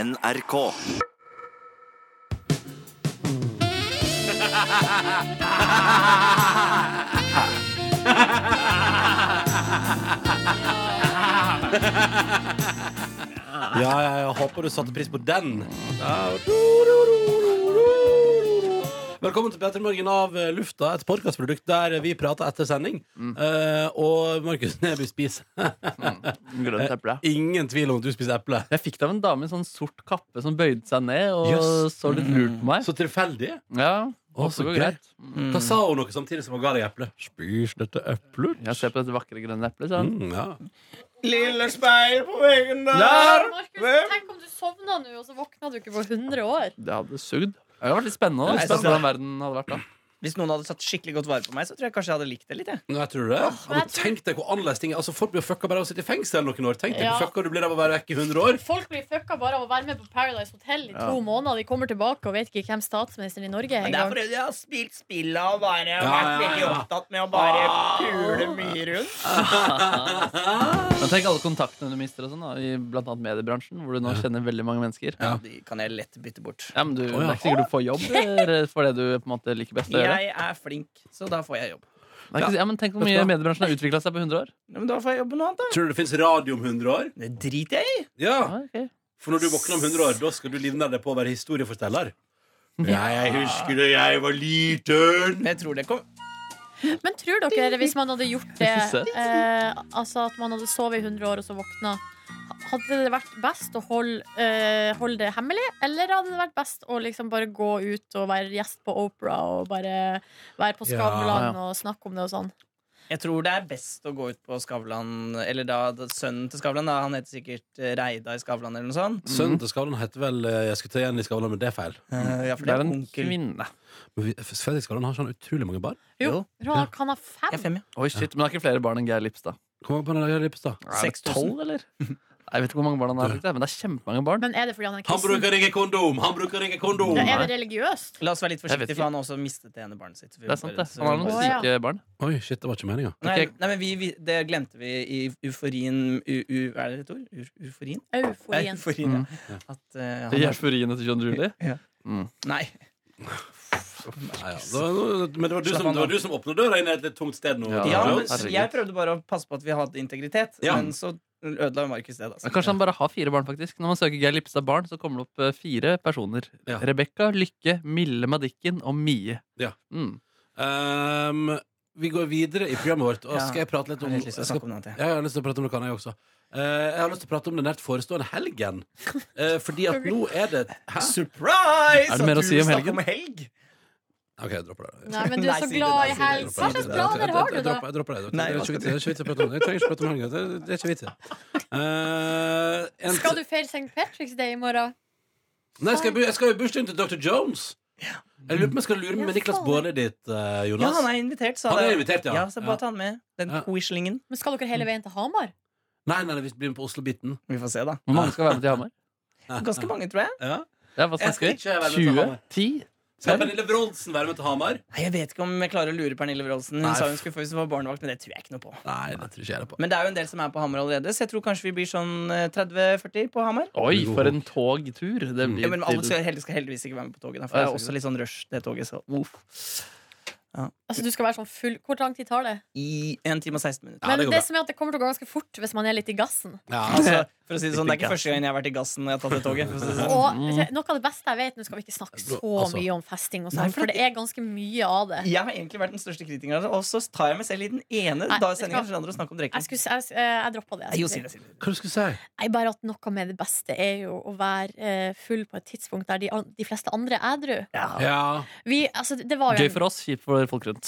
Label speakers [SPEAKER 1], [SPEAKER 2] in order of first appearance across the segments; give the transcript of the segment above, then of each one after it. [SPEAKER 1] NRK.
[SPEAKER 2] Ja, ja, jeg håper du satte pris på den. Velkommen til Petter Morgen av eh, Lufta, et podkastprodukt der vi prater etter sending. Eh, og Markus Neby spiser
[SPEAKER 3] Grønt eple.
[SPEAKER 2] Ingen tvil om at du spiser eple.
[SPEAKER 3] Eh, Jeg fikk det av en dame i en sånn sort kappe som bøyde seg ned og
[SPEAKER 2] Jøss.
[SPEAKER 3] så litt lurt på meg.
[SPEAKER 2] Så tilfeldig.
[SPEAKER 3] Ja,
[SPEAKER 2] Å,
[SPEAKER 3] håper
[SPEAKER 2] så
[SPEAKER 3] det går
[SPEAKER 2] greit.
[SPEAKER 3] greit.
[SPEAKER 2] Da sa hun noe samtidig som hun ga deg eple. Spis dette eplet.
[SPEAKER 3] Jeg ser på dette vakre grønne eplet. Sånn.
[SPEAKER 2] Mm, ja.
[SPEAKER 4] Lille speil på veggen der!
[SPEAKER 5] Markus, tenk om du sovna nå, og så våkna du ikke på 100 år.
[SPEAKER 3] Det hadde sugd. Det hadde vært litt spennende. da. Spennende
[SPEAKER 4] Det er spennende.
[SPEAKER 3] hvordan verden hadde vært da
[SPEAKER 4] Hvis noen hadde satt skikkelig godt vare på meg, så tror jeg kanskje jeg hadde likt det litt. Jeg.
[SPEAKER 2] Nei, Jeg tror det. Ja, men tenk deg hvor annerledes ting er. Altså, Folk blir fucka bare av å sitte i fengsel noen år. Tenk deg
[SPEAKER 5] Ja.
[SPEAKER 2] hvor fucka du blir av å være vekk i 100 år.
[SPEAKER 5] Folk blir fucka bare av å være med på Paradise Hotel i to måneder. De kommer tilbake og vet ikke hvem statsministeren i Norge er
[SPEAKER 4] Men det er
[SPEAKER 5] engang.
[SPEAKER 4] fordi jeg har spilt spilla og bare
[SPEAKER 2] ja,
[SPEAKER 4] vært
[SPEAKER 2] ja.
[SPEAKER 4] veldig opptatt med å bare
[SPEAKER 3] Ah.
[SPEAKER 4] pule mye rundt.
[SPEAKER 3] Men tenk alle kontaktene du mister og sånn, da, i blant annet mediebransjen, hvor du nå kjenner veldig mange mennesker.
[SPEAKER 2] Ja.
[SPEAKER 4] De kan jeg lett bytte bort.
[SPEAKER 3] Ja, men du,
[SPEAKER 2] ja.
[SPEAKER 3] Det er ikke sikkert du får jobb eller for det du på en måte liker best å gjøre.
[SPEAKER 4] Jeg er flink, så da får jeg jobb.
[SPEAKER 3] Det er ikke, ja, men Tenk hvor mye mediebransjen har utvikla seg på 100 år.
[SPEAKER 4] Ja, men da får jeg jobbe noe annet, da.
[SPEAKER 2] Tror du det fins radio om 100 år?
[SPEAKER 4] Det driter jeg i.
[SPEAKER 2] Ja.
[SPEAKER 3] Ja, ok.
[SPEAKER 2] For når du våkner om 100 år, da skal du livnære deg på å være historieforteller. Jeg husker da jeg var liten.
[SPEAKER 4] Men jeg tror det kom
[SPEAKER 5] Men tror dere, hvis man hadde gjort det,
[SPEAKER 3] Så søtt.
[SPEAKER 5] eh, altså at man hadde sovet i 100 år og så våkna hadde det vært best å holde, eh, holde det hemmelig, eller hadde det vært best å liksom bare gå ut og være gjest på Opera og bare være på
[SPEAKER 3] Ja,
[SPEAKER 5] Skavlan
[SPEAKER 3] ja.
[SPEAKER 5] og snakke om det og sånn?
[SPEAKER 4] Jeg tror det er best å gå ut på Skavlan Eller da da- sønnen til Skavlan, da. Han heter sikkert eh, Reidar Skavlan eller noe sånt.
[SPEAKER 2] Sønnen til Skavlan heter vel eh, Jeg skulle ta igjen i Skavlan, men det er feil.
[SPEAKER 4] Eh, Ja, for
[SPEAKER 3] Det er en
[SPEAKER 4] onkel.
[SPEAKER 3] kvinne.
[SPEAKER 2] Men vi- Fredrik Skavlan har ikke han utrolig mange barn?
[SPEAKER 5] Jo,
[SPEAKER 2] Ja.
[SPEAKER 5] han kan ha
[SPEAKER 4] Jeg er
[SPEAKER 5] fem.
[SPEAKER 4] fem, ja.
[SPEAKER 3] Oi, shit, Men det er ikke flere barn enn Geir Lippstad.
[SPEAKER 2] Hvor mange barn har Geir Lippestad?
[SPEAKER 3] Er det
[SPEAKER 4] 6000?
[SPEAKER 3] tolv, eller? Jeg vet ikke hvor mange barn han har, men det er kjempemange barn.
[SPEAKER 5] Men er det fordi han er
[SPEAKER 2] Han
[SPEAKER 5] kristen?
[SPEAKER 2] bruker ikke kondom! Han bruker ikke kondom!
[SPEAKER 5] Ja, er det religiøst?
[SPEAKER 4] La oss være litt
[SPEAKER 3] Jeg vet
[SPEAKER 4] forsiktige,
[SPEAKER 3] ikke.
[SPEAKER 4] for han har også mistet det ene barnet sitt.
[SPEAKER 3] Det er sant, det.
[SPEAKER 4] Så vi
[SPEAKER 3] Han har noen
[SPEAKER 4] må
[SPEAKER 5] Å,
[SPEAKER 4] bare-
[SPEAKER 5] ja.
[SPEAKER 3] syke barn.
[SPEAKER 2] Oi, shit, det var ikke meninga.
[SPEAKER 4] Nei,
[SPEAKER 3] Ok.
[SPEAKER 4] nei, men vi, vi, det glemte vi i euforien u, u, Er det et ord? Ur, uforien? Nei,
[SPEAKER 5] Euforien.
[SPEAKER 4] euforien,
[SPEAKER 3] Mm.
[SPEAKER 4] ja. At eh,
[SPEAKER 3] I
[SPEAKER 4] han,
[SPEAKER 3] euforiene til John Julie.
[SPEAKER 4] Nei.
[SPEAKER 2] Ja, ja. Det var- Men det var du
[SPEAKER 4] Slapp
[SPEAKER 2] som,
[SPEAKER 4] an,
[SPEAKER 2] det var du som åpna døra inn i et litt tungt sted nå.
[SPEAKER 3] Ja.
[SPEAKER 4] Ja,
[SPEAKER 2] Jones.
[SPEAKER 4] men s- jeg prøvde bare å passe på at vi hadde integritet,
[SPEAKER 2] Ja.
[SPEAKER 4] men så ødela Markus det. Da,
[SPEAKER 3] Men Kanskje han bare har fire barn, faktisk. Når man søker Geir Lippstad barn, så kommer det opp eh, fire personer.
[SPEAKER 2] Ja.
[SPEAKER 3] Rebekka, Lykke, Mille Madikken og Mie.
[SPEAKER 2] Ja.
[SPEAKER 3] Mm.
[SPEAKER 2] Ehm, vi går videre i programmet vårt, og
[SPEAKER 4] Ja.
[SPEAKER 2] skal jeg prate litt
[SPEAKER 4] Jeg
[SPEAKER 2] om
[SPEAKER 4] har helt lyst til
[SPEAKER 2] jeg
[SPEAKER 4] å
[SPEAKER 2] skal
[SPEAKER 4] snakke om noe annet. jeg.
[SPEAKER 2] Jeg har lyst til å prate om noe annet, jeg også. Eh, jeg har lyst til å prate om den nært forestående helgen. Eh, fordi at nå er det Hæ?
[SPEAKER 4] Surprise!
[SPEAKER 3] Er det mer
[SPEAKER 4] at
[SPEAKER 3] å
[SPEAKER 4] du
[SPEAKER 3] si om
[SPEAKER 4] snakker
[SPEAKER 3] helgen?
[SPEAKER 4] Om helg?
[SPEAKER 2] OK, jeg dropper det.
[SPEAKER 5] Nei, men du
[SPEAKER 4] Nei,
[SPEAKER 5] er
[SPEAKER 4] si
[SPEAKER 5] så
[SPEAKER 4] det, nei,
[SPEAKER 5] glad i
[SPEAKER 4] si det,
[SPEAKER 5] helg.
[SPEAKER 2] Jeg
[SPEAKER 5] Hva
[SPEAKER 2] dropper det.
[SPEAKER 5] slags planer har du,
[SPEAKER 2] Jeg
[SPEAKER 5] da?
[SPEAKER 2] dropper- Jeg dropper det.
[SPEAKER 4] Nei,
[SPEAKER 2] Det er ikke vits- det er ikke vits å prate om det. Jeg trenger ikke prate om helgen. Det er- Det er ikke vits i. Eh, en-
[SPEAKER 5] Skal du feire St. Patrick's Day i morgen?
[SPEAKER 2] Nei, skal jeg, bu- jeg skal i bursdagen til Dr. Jones. Jeg lurer på om jeg skal lure med
[SPEAKER 5] Ja,
[SPEAKER 2] Niklas
[SPEAKER 5] faen.
[SPEAKER 2] Baarli dit, eh,
[SPEAKER 4] Ja,
[SPEAKER 2] Jonas.
[SPEAKER 4] han er invitert, sa
[SPEAKER 2] Han er
[SPEAKER 4] det.
[SPEAKER 2] invitert, ja.
[SPEAKER 4] ja så
[SPEAKER 2] Ja.
[SPEAKER 4] bare ta han med. Den
[SPEAKER 2] Ja.
[SPEAKER 4] quislingen.
[SPEAKER 5] Men skal dere hele veien til Hamar?
[SPEAKER 2] Nei, nei, nei, vi blir med på Oslo-biten.
[SPEAKER 4] Vi får se, da.
[SPEAKER 3] Hvor mange skal være med til Hamar?
[SPEAKER 4] Ganske mange, tror jeg.
[SPEAKER 2] Ja.
[SPEAKER 3] Det er hva
[SPEAKER 2] Jeg skal
[SPEAKER 3] snakker vi?
[SPEAKER 2] ikke være med til
[SPEAKER 3] 20?
[SPEAKER 2] Hamar.
[SPEAKER 3] 10?
[SPEAKER 2] Skal Pernille Bronsen være med til Hamar?
[SPEAKER 4] Nei, Jeg vet ikke om jeg klarer å lure Pernille Wroldsen. Hun
[SPEAKER 2] Nei,
[SPEAKER 4] sa
[SPEAKER 2] f-
[SPEAKER 4] hun skulle få hvis hun var barnevakt, men det tror jeg ikke noe på.
[SPEAKER 2] Nei, det tror ikke jeg det på.
[SPEAKER 4] Men det er jo en del som er på Hamar allerede, så jeg tror kanskje vi blir sånn eh, 30-40 på Hamar.
[SPEAKER 3] Oi, for en togtur! Det
[SPEAKER 4] Ja,
[SPEAKER 3] blir
[SPEAKER 4] men alle
[SPEAKER 3] til
[SPEAKER 4] skal, heldig- skal heldigvis ikke være med på toget, da, for det
[SPEAKER 3] Ja,
[SPEAKER 4] er også litt sånn rush, det toget. Så. Uff.
[SPEAKER 5] Altså, du skal være sånn full Hvor lang tid tar det?
[SPEAKER 4] I en time og 16 minutter.
[SPEAKER 2] Ja,
[SPEAKER 5] Men
[SPEAKER 2] det går
[SPEAKER 5] det som er at det kommer til å gå ganske fort hvis man er litt i gassen.
[SPEAKER 2] Ja.
[SPEAKER 4] Altså, for å si Det sånn, det er ikke første gangen jeg har vært i gassen når jeg har tatt det toget. For å si det sånn.
[SPEAKER 5] Og noe av det beste jeg vet Nå skal vi ikke snakke så
[SPEAKER 2] Mm. Altså-
[SPEAKER 5] mye om festing, og
[SPEAKER 4] Nei,
[SPEAKER 5] sånn,
[SPEAKER 4] for
[SPEAKER 5] for
[SPEAKER 4] det-
[SPEAKER 5] det er ganske mye av det.
[SPEAKER 4] Jeg har egentlig vært den største kritikeren, av det, og så tar jeg meg selv i den ene
[SPEAKER 5] Nei,
[SPEAKER 4] da
[SPEAKER 5] vet du
[SPEAKER 4] sendingen
[SPEAKER 5] hva?
[SPEAKER 4] for den andre og snakker om
[SPEAKER 5] Jeg,
[SPEAKER 4] drikking.
[SPEAKER 5] skulle, jeg, eh, jeg droppa det.
[SPEAKER 4] Jo,
[SPEAKER 5] Jeg
[SPEAKER 4] si
[SPEAKER 5] skulle.
[SPEAKER 4] det, si det.
[SPEAKER 2] Hva du skulle du si?
[SPEAKER 5] Nei, bare at noe med det beste er jo å være eh, full på et tidspunkt der de, an- de fleste andre er edru.
[SPEAKER 2] Ja.
[SPEAKER 5] Vi, altså, det var jo
[SPEAKER 3] Gøy
[SPEAKER 5] en-
[SPEAKER 3] for oss, kjipt for folk rundt.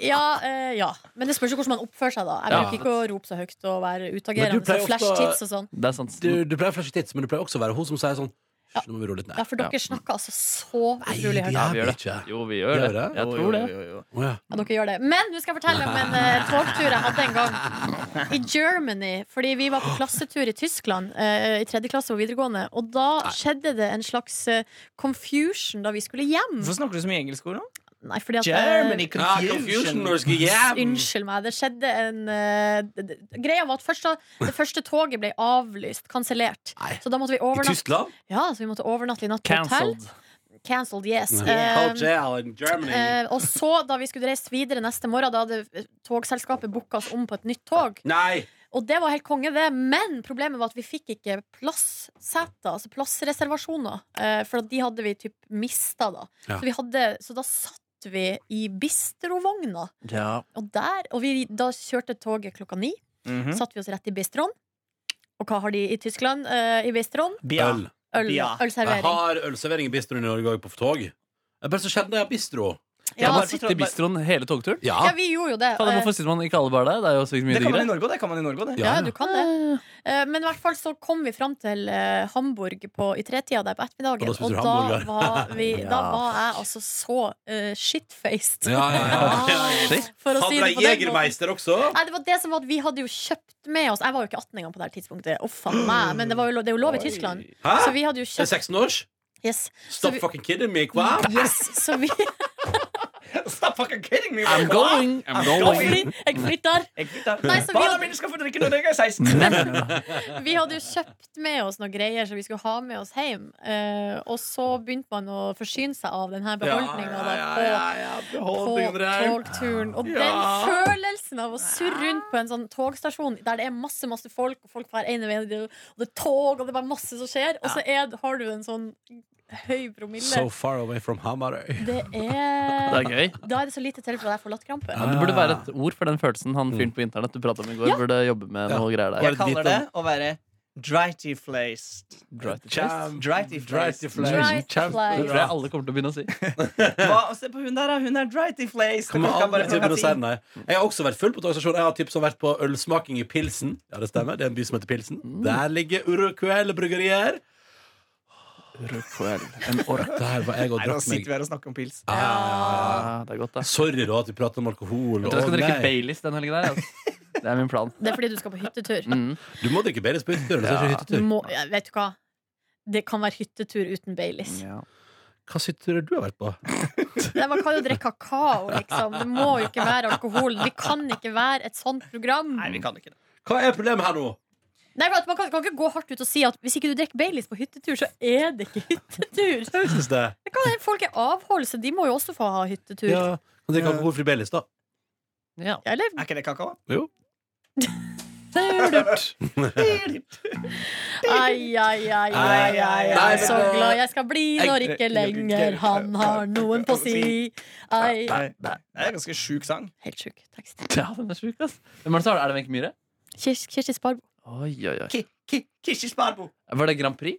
[SPEAKER 5] Ja, eh, ja. Men det spørs jo hvordan man oppfører seg, da. Jeg
[SPEAKER 2] Ja.
[SPEAKER 5] bruker ikke å rope så høyt og være
[SPEAKER 2] Men
[SPEAKER 5] utagerende.
[SPEAKER 2] du pleier
[SPEAKER 5] så Flash
[SPEAKER 2] ofte-
[SPEAKER 5] tits og sånn.
[SPEAKER 3] Det er sant.
[SPEAKER 2] Du, du pleier å flashe tits, men du pleier også å være hun som sier sånn «Hysj, Nå må vi roe litt ned.
[SPEAKER 5] Ja, for dere
[SPEAKER 3] Ja.
[SPEAKER 5] snakker altså så utrolig høyt.
[SPEAKER 2] Ja,
[SPEAKER 3] Ja,
[SPEAKER 2] vi gjør
[SPEAKER 3] vi gjør
[SPEAKER 2] det. ikke.
[SPEAKER 3] Jo, vi gjør
[SPEAKER 2] Gjør
[SPEAKER 3] det.
[SPEAKER 2] det?
[SPEAKER 3] Jeg tror det.
[SPEAKER 4] Jo, jo, jo, jo.
[SPEAKER 2] Å, ja.
[SPEAKER 5] Ja, dere gjør det. Men nå skal jeg fortelle om en eh, togtur jeg hadde en gang. I Germany. Fordi vi var på klassetur i Tyskland eh, i tredje klasse på videregående. Og da skjedde det en slags eh, confusion da vi skulle hjem.
[SPEAKER 4] Hvorfor snakker du så mye engelsk ord nå?
[SPEAKER 5] Nei, fordi at eh,
[SPEAKER 4] Germany
[SPEAKER 2] Ja, confusion
[SPEAKER 4] confusion.
[SPEAKER 2] når du skal hjem.
[SPEAKER 5] Unnskyld meg, det skjedde en eh, d- d- Greia var at første, det første toget ble avlyst, kansellert.
[SPEAKER 2] Nei.
[SPEAKER 5] Så da måtte vi
[SPEAKER 2] I
[SPEAKER 5] overnatte
[SPEAKER 2] Tyskland?
[SPEAKER 5] Ja, så vi måtte overnatte i natt på hotell.
[SPEAKER 3] Cancelled.
[SPEAKER 5] Cancelled, yes.
[SPEAKER 2] Oh,
[SPEAKER 5] Eh,
[SPEAKER 2] jail in Germany.
[SPEAKER 5] eh, og så, da vi skulle reise videre neste morgen, da hadde eh, togselskapet booka oss om på et nytt tog.
[SPEAKER 2] Nei!
[SPEAKER 5] Og det var helt konge, det. Men problemet var at vi fikk ikke plasseter, altså plassreservasjoner. eh, for at de hadde vi typ mista, da.
[SPEAKER 2] Ja.
[SPEAKER 5] Så, vi hadde, så da satt vi i bistrovogna.
[SPEAKER 3] Ja.
[SPEAKER 5] Og, der, og vi, da kjørte toget klokka ni.
[SPEAKER 3] Mm.
[SPEAKER 4] Mhm.
[SPEAKER 5] Satt vi oss rett i bistroen. Og hva har de i Tyskland eh, i bistroen?
[SPEAKER 4] Bia.
[SPEAKER 2] Øl.
[SPEAKER 5] Øl,
[SPEAKER 4] Ja.
[SPEAKER 2] Jeg
[SPEAKER 5] Ølservering.
[SPEAKER 2] har ølservering i bistroen i Norge òg, på tog. Jeg bare så kjenner jeg bistro.
[SPEAKER 3] Jeg
[SPEAKER 5] Ja, altså,
[SPEAKER 3] bare
[SPEAKER 4] så
[SPEAKER 3] sitter i
[SPEAKER 4] tror-
[SPEAKER 3] bistroen hele togturen.
[SPEAKER 2] Ja.
[SPEAKER 5] ja, vi gjorde jo det.
[SPEAKER 3] Faen,
[SPEAKER 5] Eh,
[SPEAKER 3] Hvorfor sitter man ikke alle bare der? Det er jo sykt mye
[SPEAKER 4] Det kan man i
[SPEAKER 3] diggere.
[SPEAKER 4] Norge òg, det. kan man i Norge også, det.
[SPEAKER 5] Ja,
[SPEAKER 2] Ja,
[SPEAKER 5] du kan det. Eh, Men i hvert fall så kom vi fram til eh, Hamburg på, i tretida der på ettermiddagen.
[SPEAKER 2] Og da spiste
[SPEAKER 5] Og
[SPEAKER 2] du
[SPEAKER 5] da
[SPEAKER 2] hamburger.
[SPEAKER 5] var, vi, da
[SPEAKER 3] Ja.
[SPEAKER 5] var jeg altså så eh, shitfaced. Ah,
[SPEAKER 2] Ja, ja, ja.
[SPEAKER 3] Shit.
[SPEAKER 5] For å
[SPEAKER 2] Hadde
[SPEAKER 5] si det
[SPEAKER 2] deg
[SPEAKER 5] på den måten.
[SPEAKER 2] Jegermeister også?
[SPEAKER 5] Nei, det var det som var at Vi hadde jo kjøpt med oss Jeg var jo ikke 18 engang på det her tidspunktet. Å, faen
[SPEAKER 2] Mm.
[SPEAKER 5] meg. Men det, var jo, lo- det er jo lov i Tyskland.
[SPEAKER 2] Hæ?
[SPEAKER 5] Så vi hadde jo
[SPEAKER 2] Er det
[SPEAKER 5] kjøpt
[SPEAKER 2] 16-års?
[SPEAKER 5] Yes.
[SPEAKER 2] Stop
[SPEAKER 5] Så vi-
[SPEAKER 2] fucking kidding me, hva?
[SPEAKER 5] yes så vi
[SPEAKER 4] Stop fucking kidding me!
[SPEAKER 3] I'm going! I'm going.
[SPEAKER 5] Jeg flytter!
[SPEAKER 4] Jeg flytter.
[SPEAKER 5] Nei, så vi-
[SPEAKER 4] Barna mine skal få drikke når jeg er 16!
[SPEAKER 5] Vi hadde jo kjøpt med oss noen greier som vi skulle ha med oss hjem. Eh, og så begynte man å forsyne seg av denne beholdninga da, på på togturen. Og den
[SPEAKER 4] Ja.
[SPEAKER 5] følelsen av å surre rundt på en sånn togstasjon der det er masse masse folk, og folk hver ene vei, og det er tog, og det er bare masse som skjer, og så er, har du en sånn høy promille.
[SPEAKER 2] So far away from Hamarøy.
[SPEAKER 5] Det
[SPEAKER 3] Det
[SPEAKER 5] er
[SPEAKER 3] er gøy.
[SPEAKER 5] Da er det så lite til for at jeg får latterkrampe.
[SPEAKER 3] Ja, det burde være et ord for den følelsen han fyren på internett du prata om i går,
[SPEAKER 5] Ja.
[SPEAKER 3] burde jobbe med
[SPEAKER 2] Ja.
[SPEAKER 3] noe greier der.
[SPEAKER 4] Jeg kaller det å være drighty flaced.
[SPEAKER 2] Cham- Drighty
[SPEAKER 4] Drighty flaced.
[SPEAKER 2] flies.
[SPEAKER 5] Drighty
[SPEAKER 2] Cham-
[SPEAKER 5] flies.
[SPEAKER 3] Det tror jeg alle kommer til å begynne å si.
[SPEAKER 4] Hva, og se på hun der, da. hun er drighty flaced.
[SPEAKER 2] Kommer
[SPEAKER 4] Hun kan bare
[SPEAKER 2] aldri til å
[SPEAKER 4] plukke
[SPEAKER 2] begynne å si
[SPEAKER 4] ting.
[SPEAKER 2] nei. Jeg har også vært full på togstasjon. Jeg har tips om vært på ølsmaking i Pilsen. Ja, det stemmer. Det er en by som heter Pilsen. Der ligger Urukuel bryggerier.
[SPEAKER 3] En ork.
[SPEAKER 2] Der var jeg og drakk
[SPEAKER 4] Nei, nå
[SPEAKER 2] meg
[SPEAKER 4] sitter vi her og snakker om pils.
[SPEAKER 2] Ja, ja, ja, ja.
[SPEAKER 3] Ja, Ah, det er godt, da.
[SPEAKER 2] Sorry da at vi prater om alkohol.
[SPEAKER 3] Jeg tror jeg
[SPEAKER 2] Å,
[SPEAKER 3] skal drikke
[SPEAKER 2] nei.
[SPEAKER 3] Baileys den helgen der. Altså. Det er min plan.
[SPEAKER 5] Det er fordi du skal på hyttetur.
[SPEAKER 3] Mm.
[SPEAKER 2] Du må drikke Baileys på hyttetur. ellers er det ikke
[SPEAKER 5] Du
[SPEAKER 2] hyttetur.
[SPEAKER 5] må, ja, vet du hva? Det kan være hyttetur uten Baileys.
[SPEAKER 3] Ja.
[SPEAKER 2] Hva hyttetur har du vært på?
[SPEAKER 5] Det man kan jo drikke kakao, liksom. Det må jo ikke være alkohol. Vi kan ikke være et sånt program.
[SPEAKER 4] Nei, vi kan ikke det.
[SPEAKER 2] Hva er problemet her nå?
[SPEAKER 5] Nei, for at man kan, kan ikke gå hardt ut og si at hvis ikke du drikker Baileys på hyttetur, så er det ikke hyttetur.
[SPEAKER 2] Jeg synes det.
[SPEAKER 5] Det kan hende folk er avholds, så de må jo også få ha hyttetur.
[SPEAKER 2] Ja. Kan drikke alkoholfri Baileys, da.
[SPEAKER 3] Ja.
[SPEAKER 5] Eller
[SPEAKER 4] Er ikke det kakao?
[SPEAKER 2] Jo.
[SPEAKER 5] ai, ai, ai, ai, ai,
[SPEAKER 4] Nei,
[SPEAKER 5] ai.
[SPEAKER 4] men
[SPEAKER 5] Så
[SPEAKER 4] det-
[SPEAKER 5] glad jeg skal bli når ikke lenger han har noen på si.
[SPEAKER 4] Nei,
[SPEAKER 5] Ai.
[SPEAKER 4] nei. Det er en ganske sjuk sang.
[SPEAKER 5] Helt sjuk tekst.
[SPEAKER 3] ja, den er sjuk, ass. Hvem er det som har det? Er det Wenche Myhre?
[SPEAKER 5] Kir- Kirsti Sparbo.
[SPEAKER 3] Oi, oi, oi.
[SPEAKER 4] Ki, ki, Kirsti Sparbo.
[SPEAKER 3] Var det Grand Prix?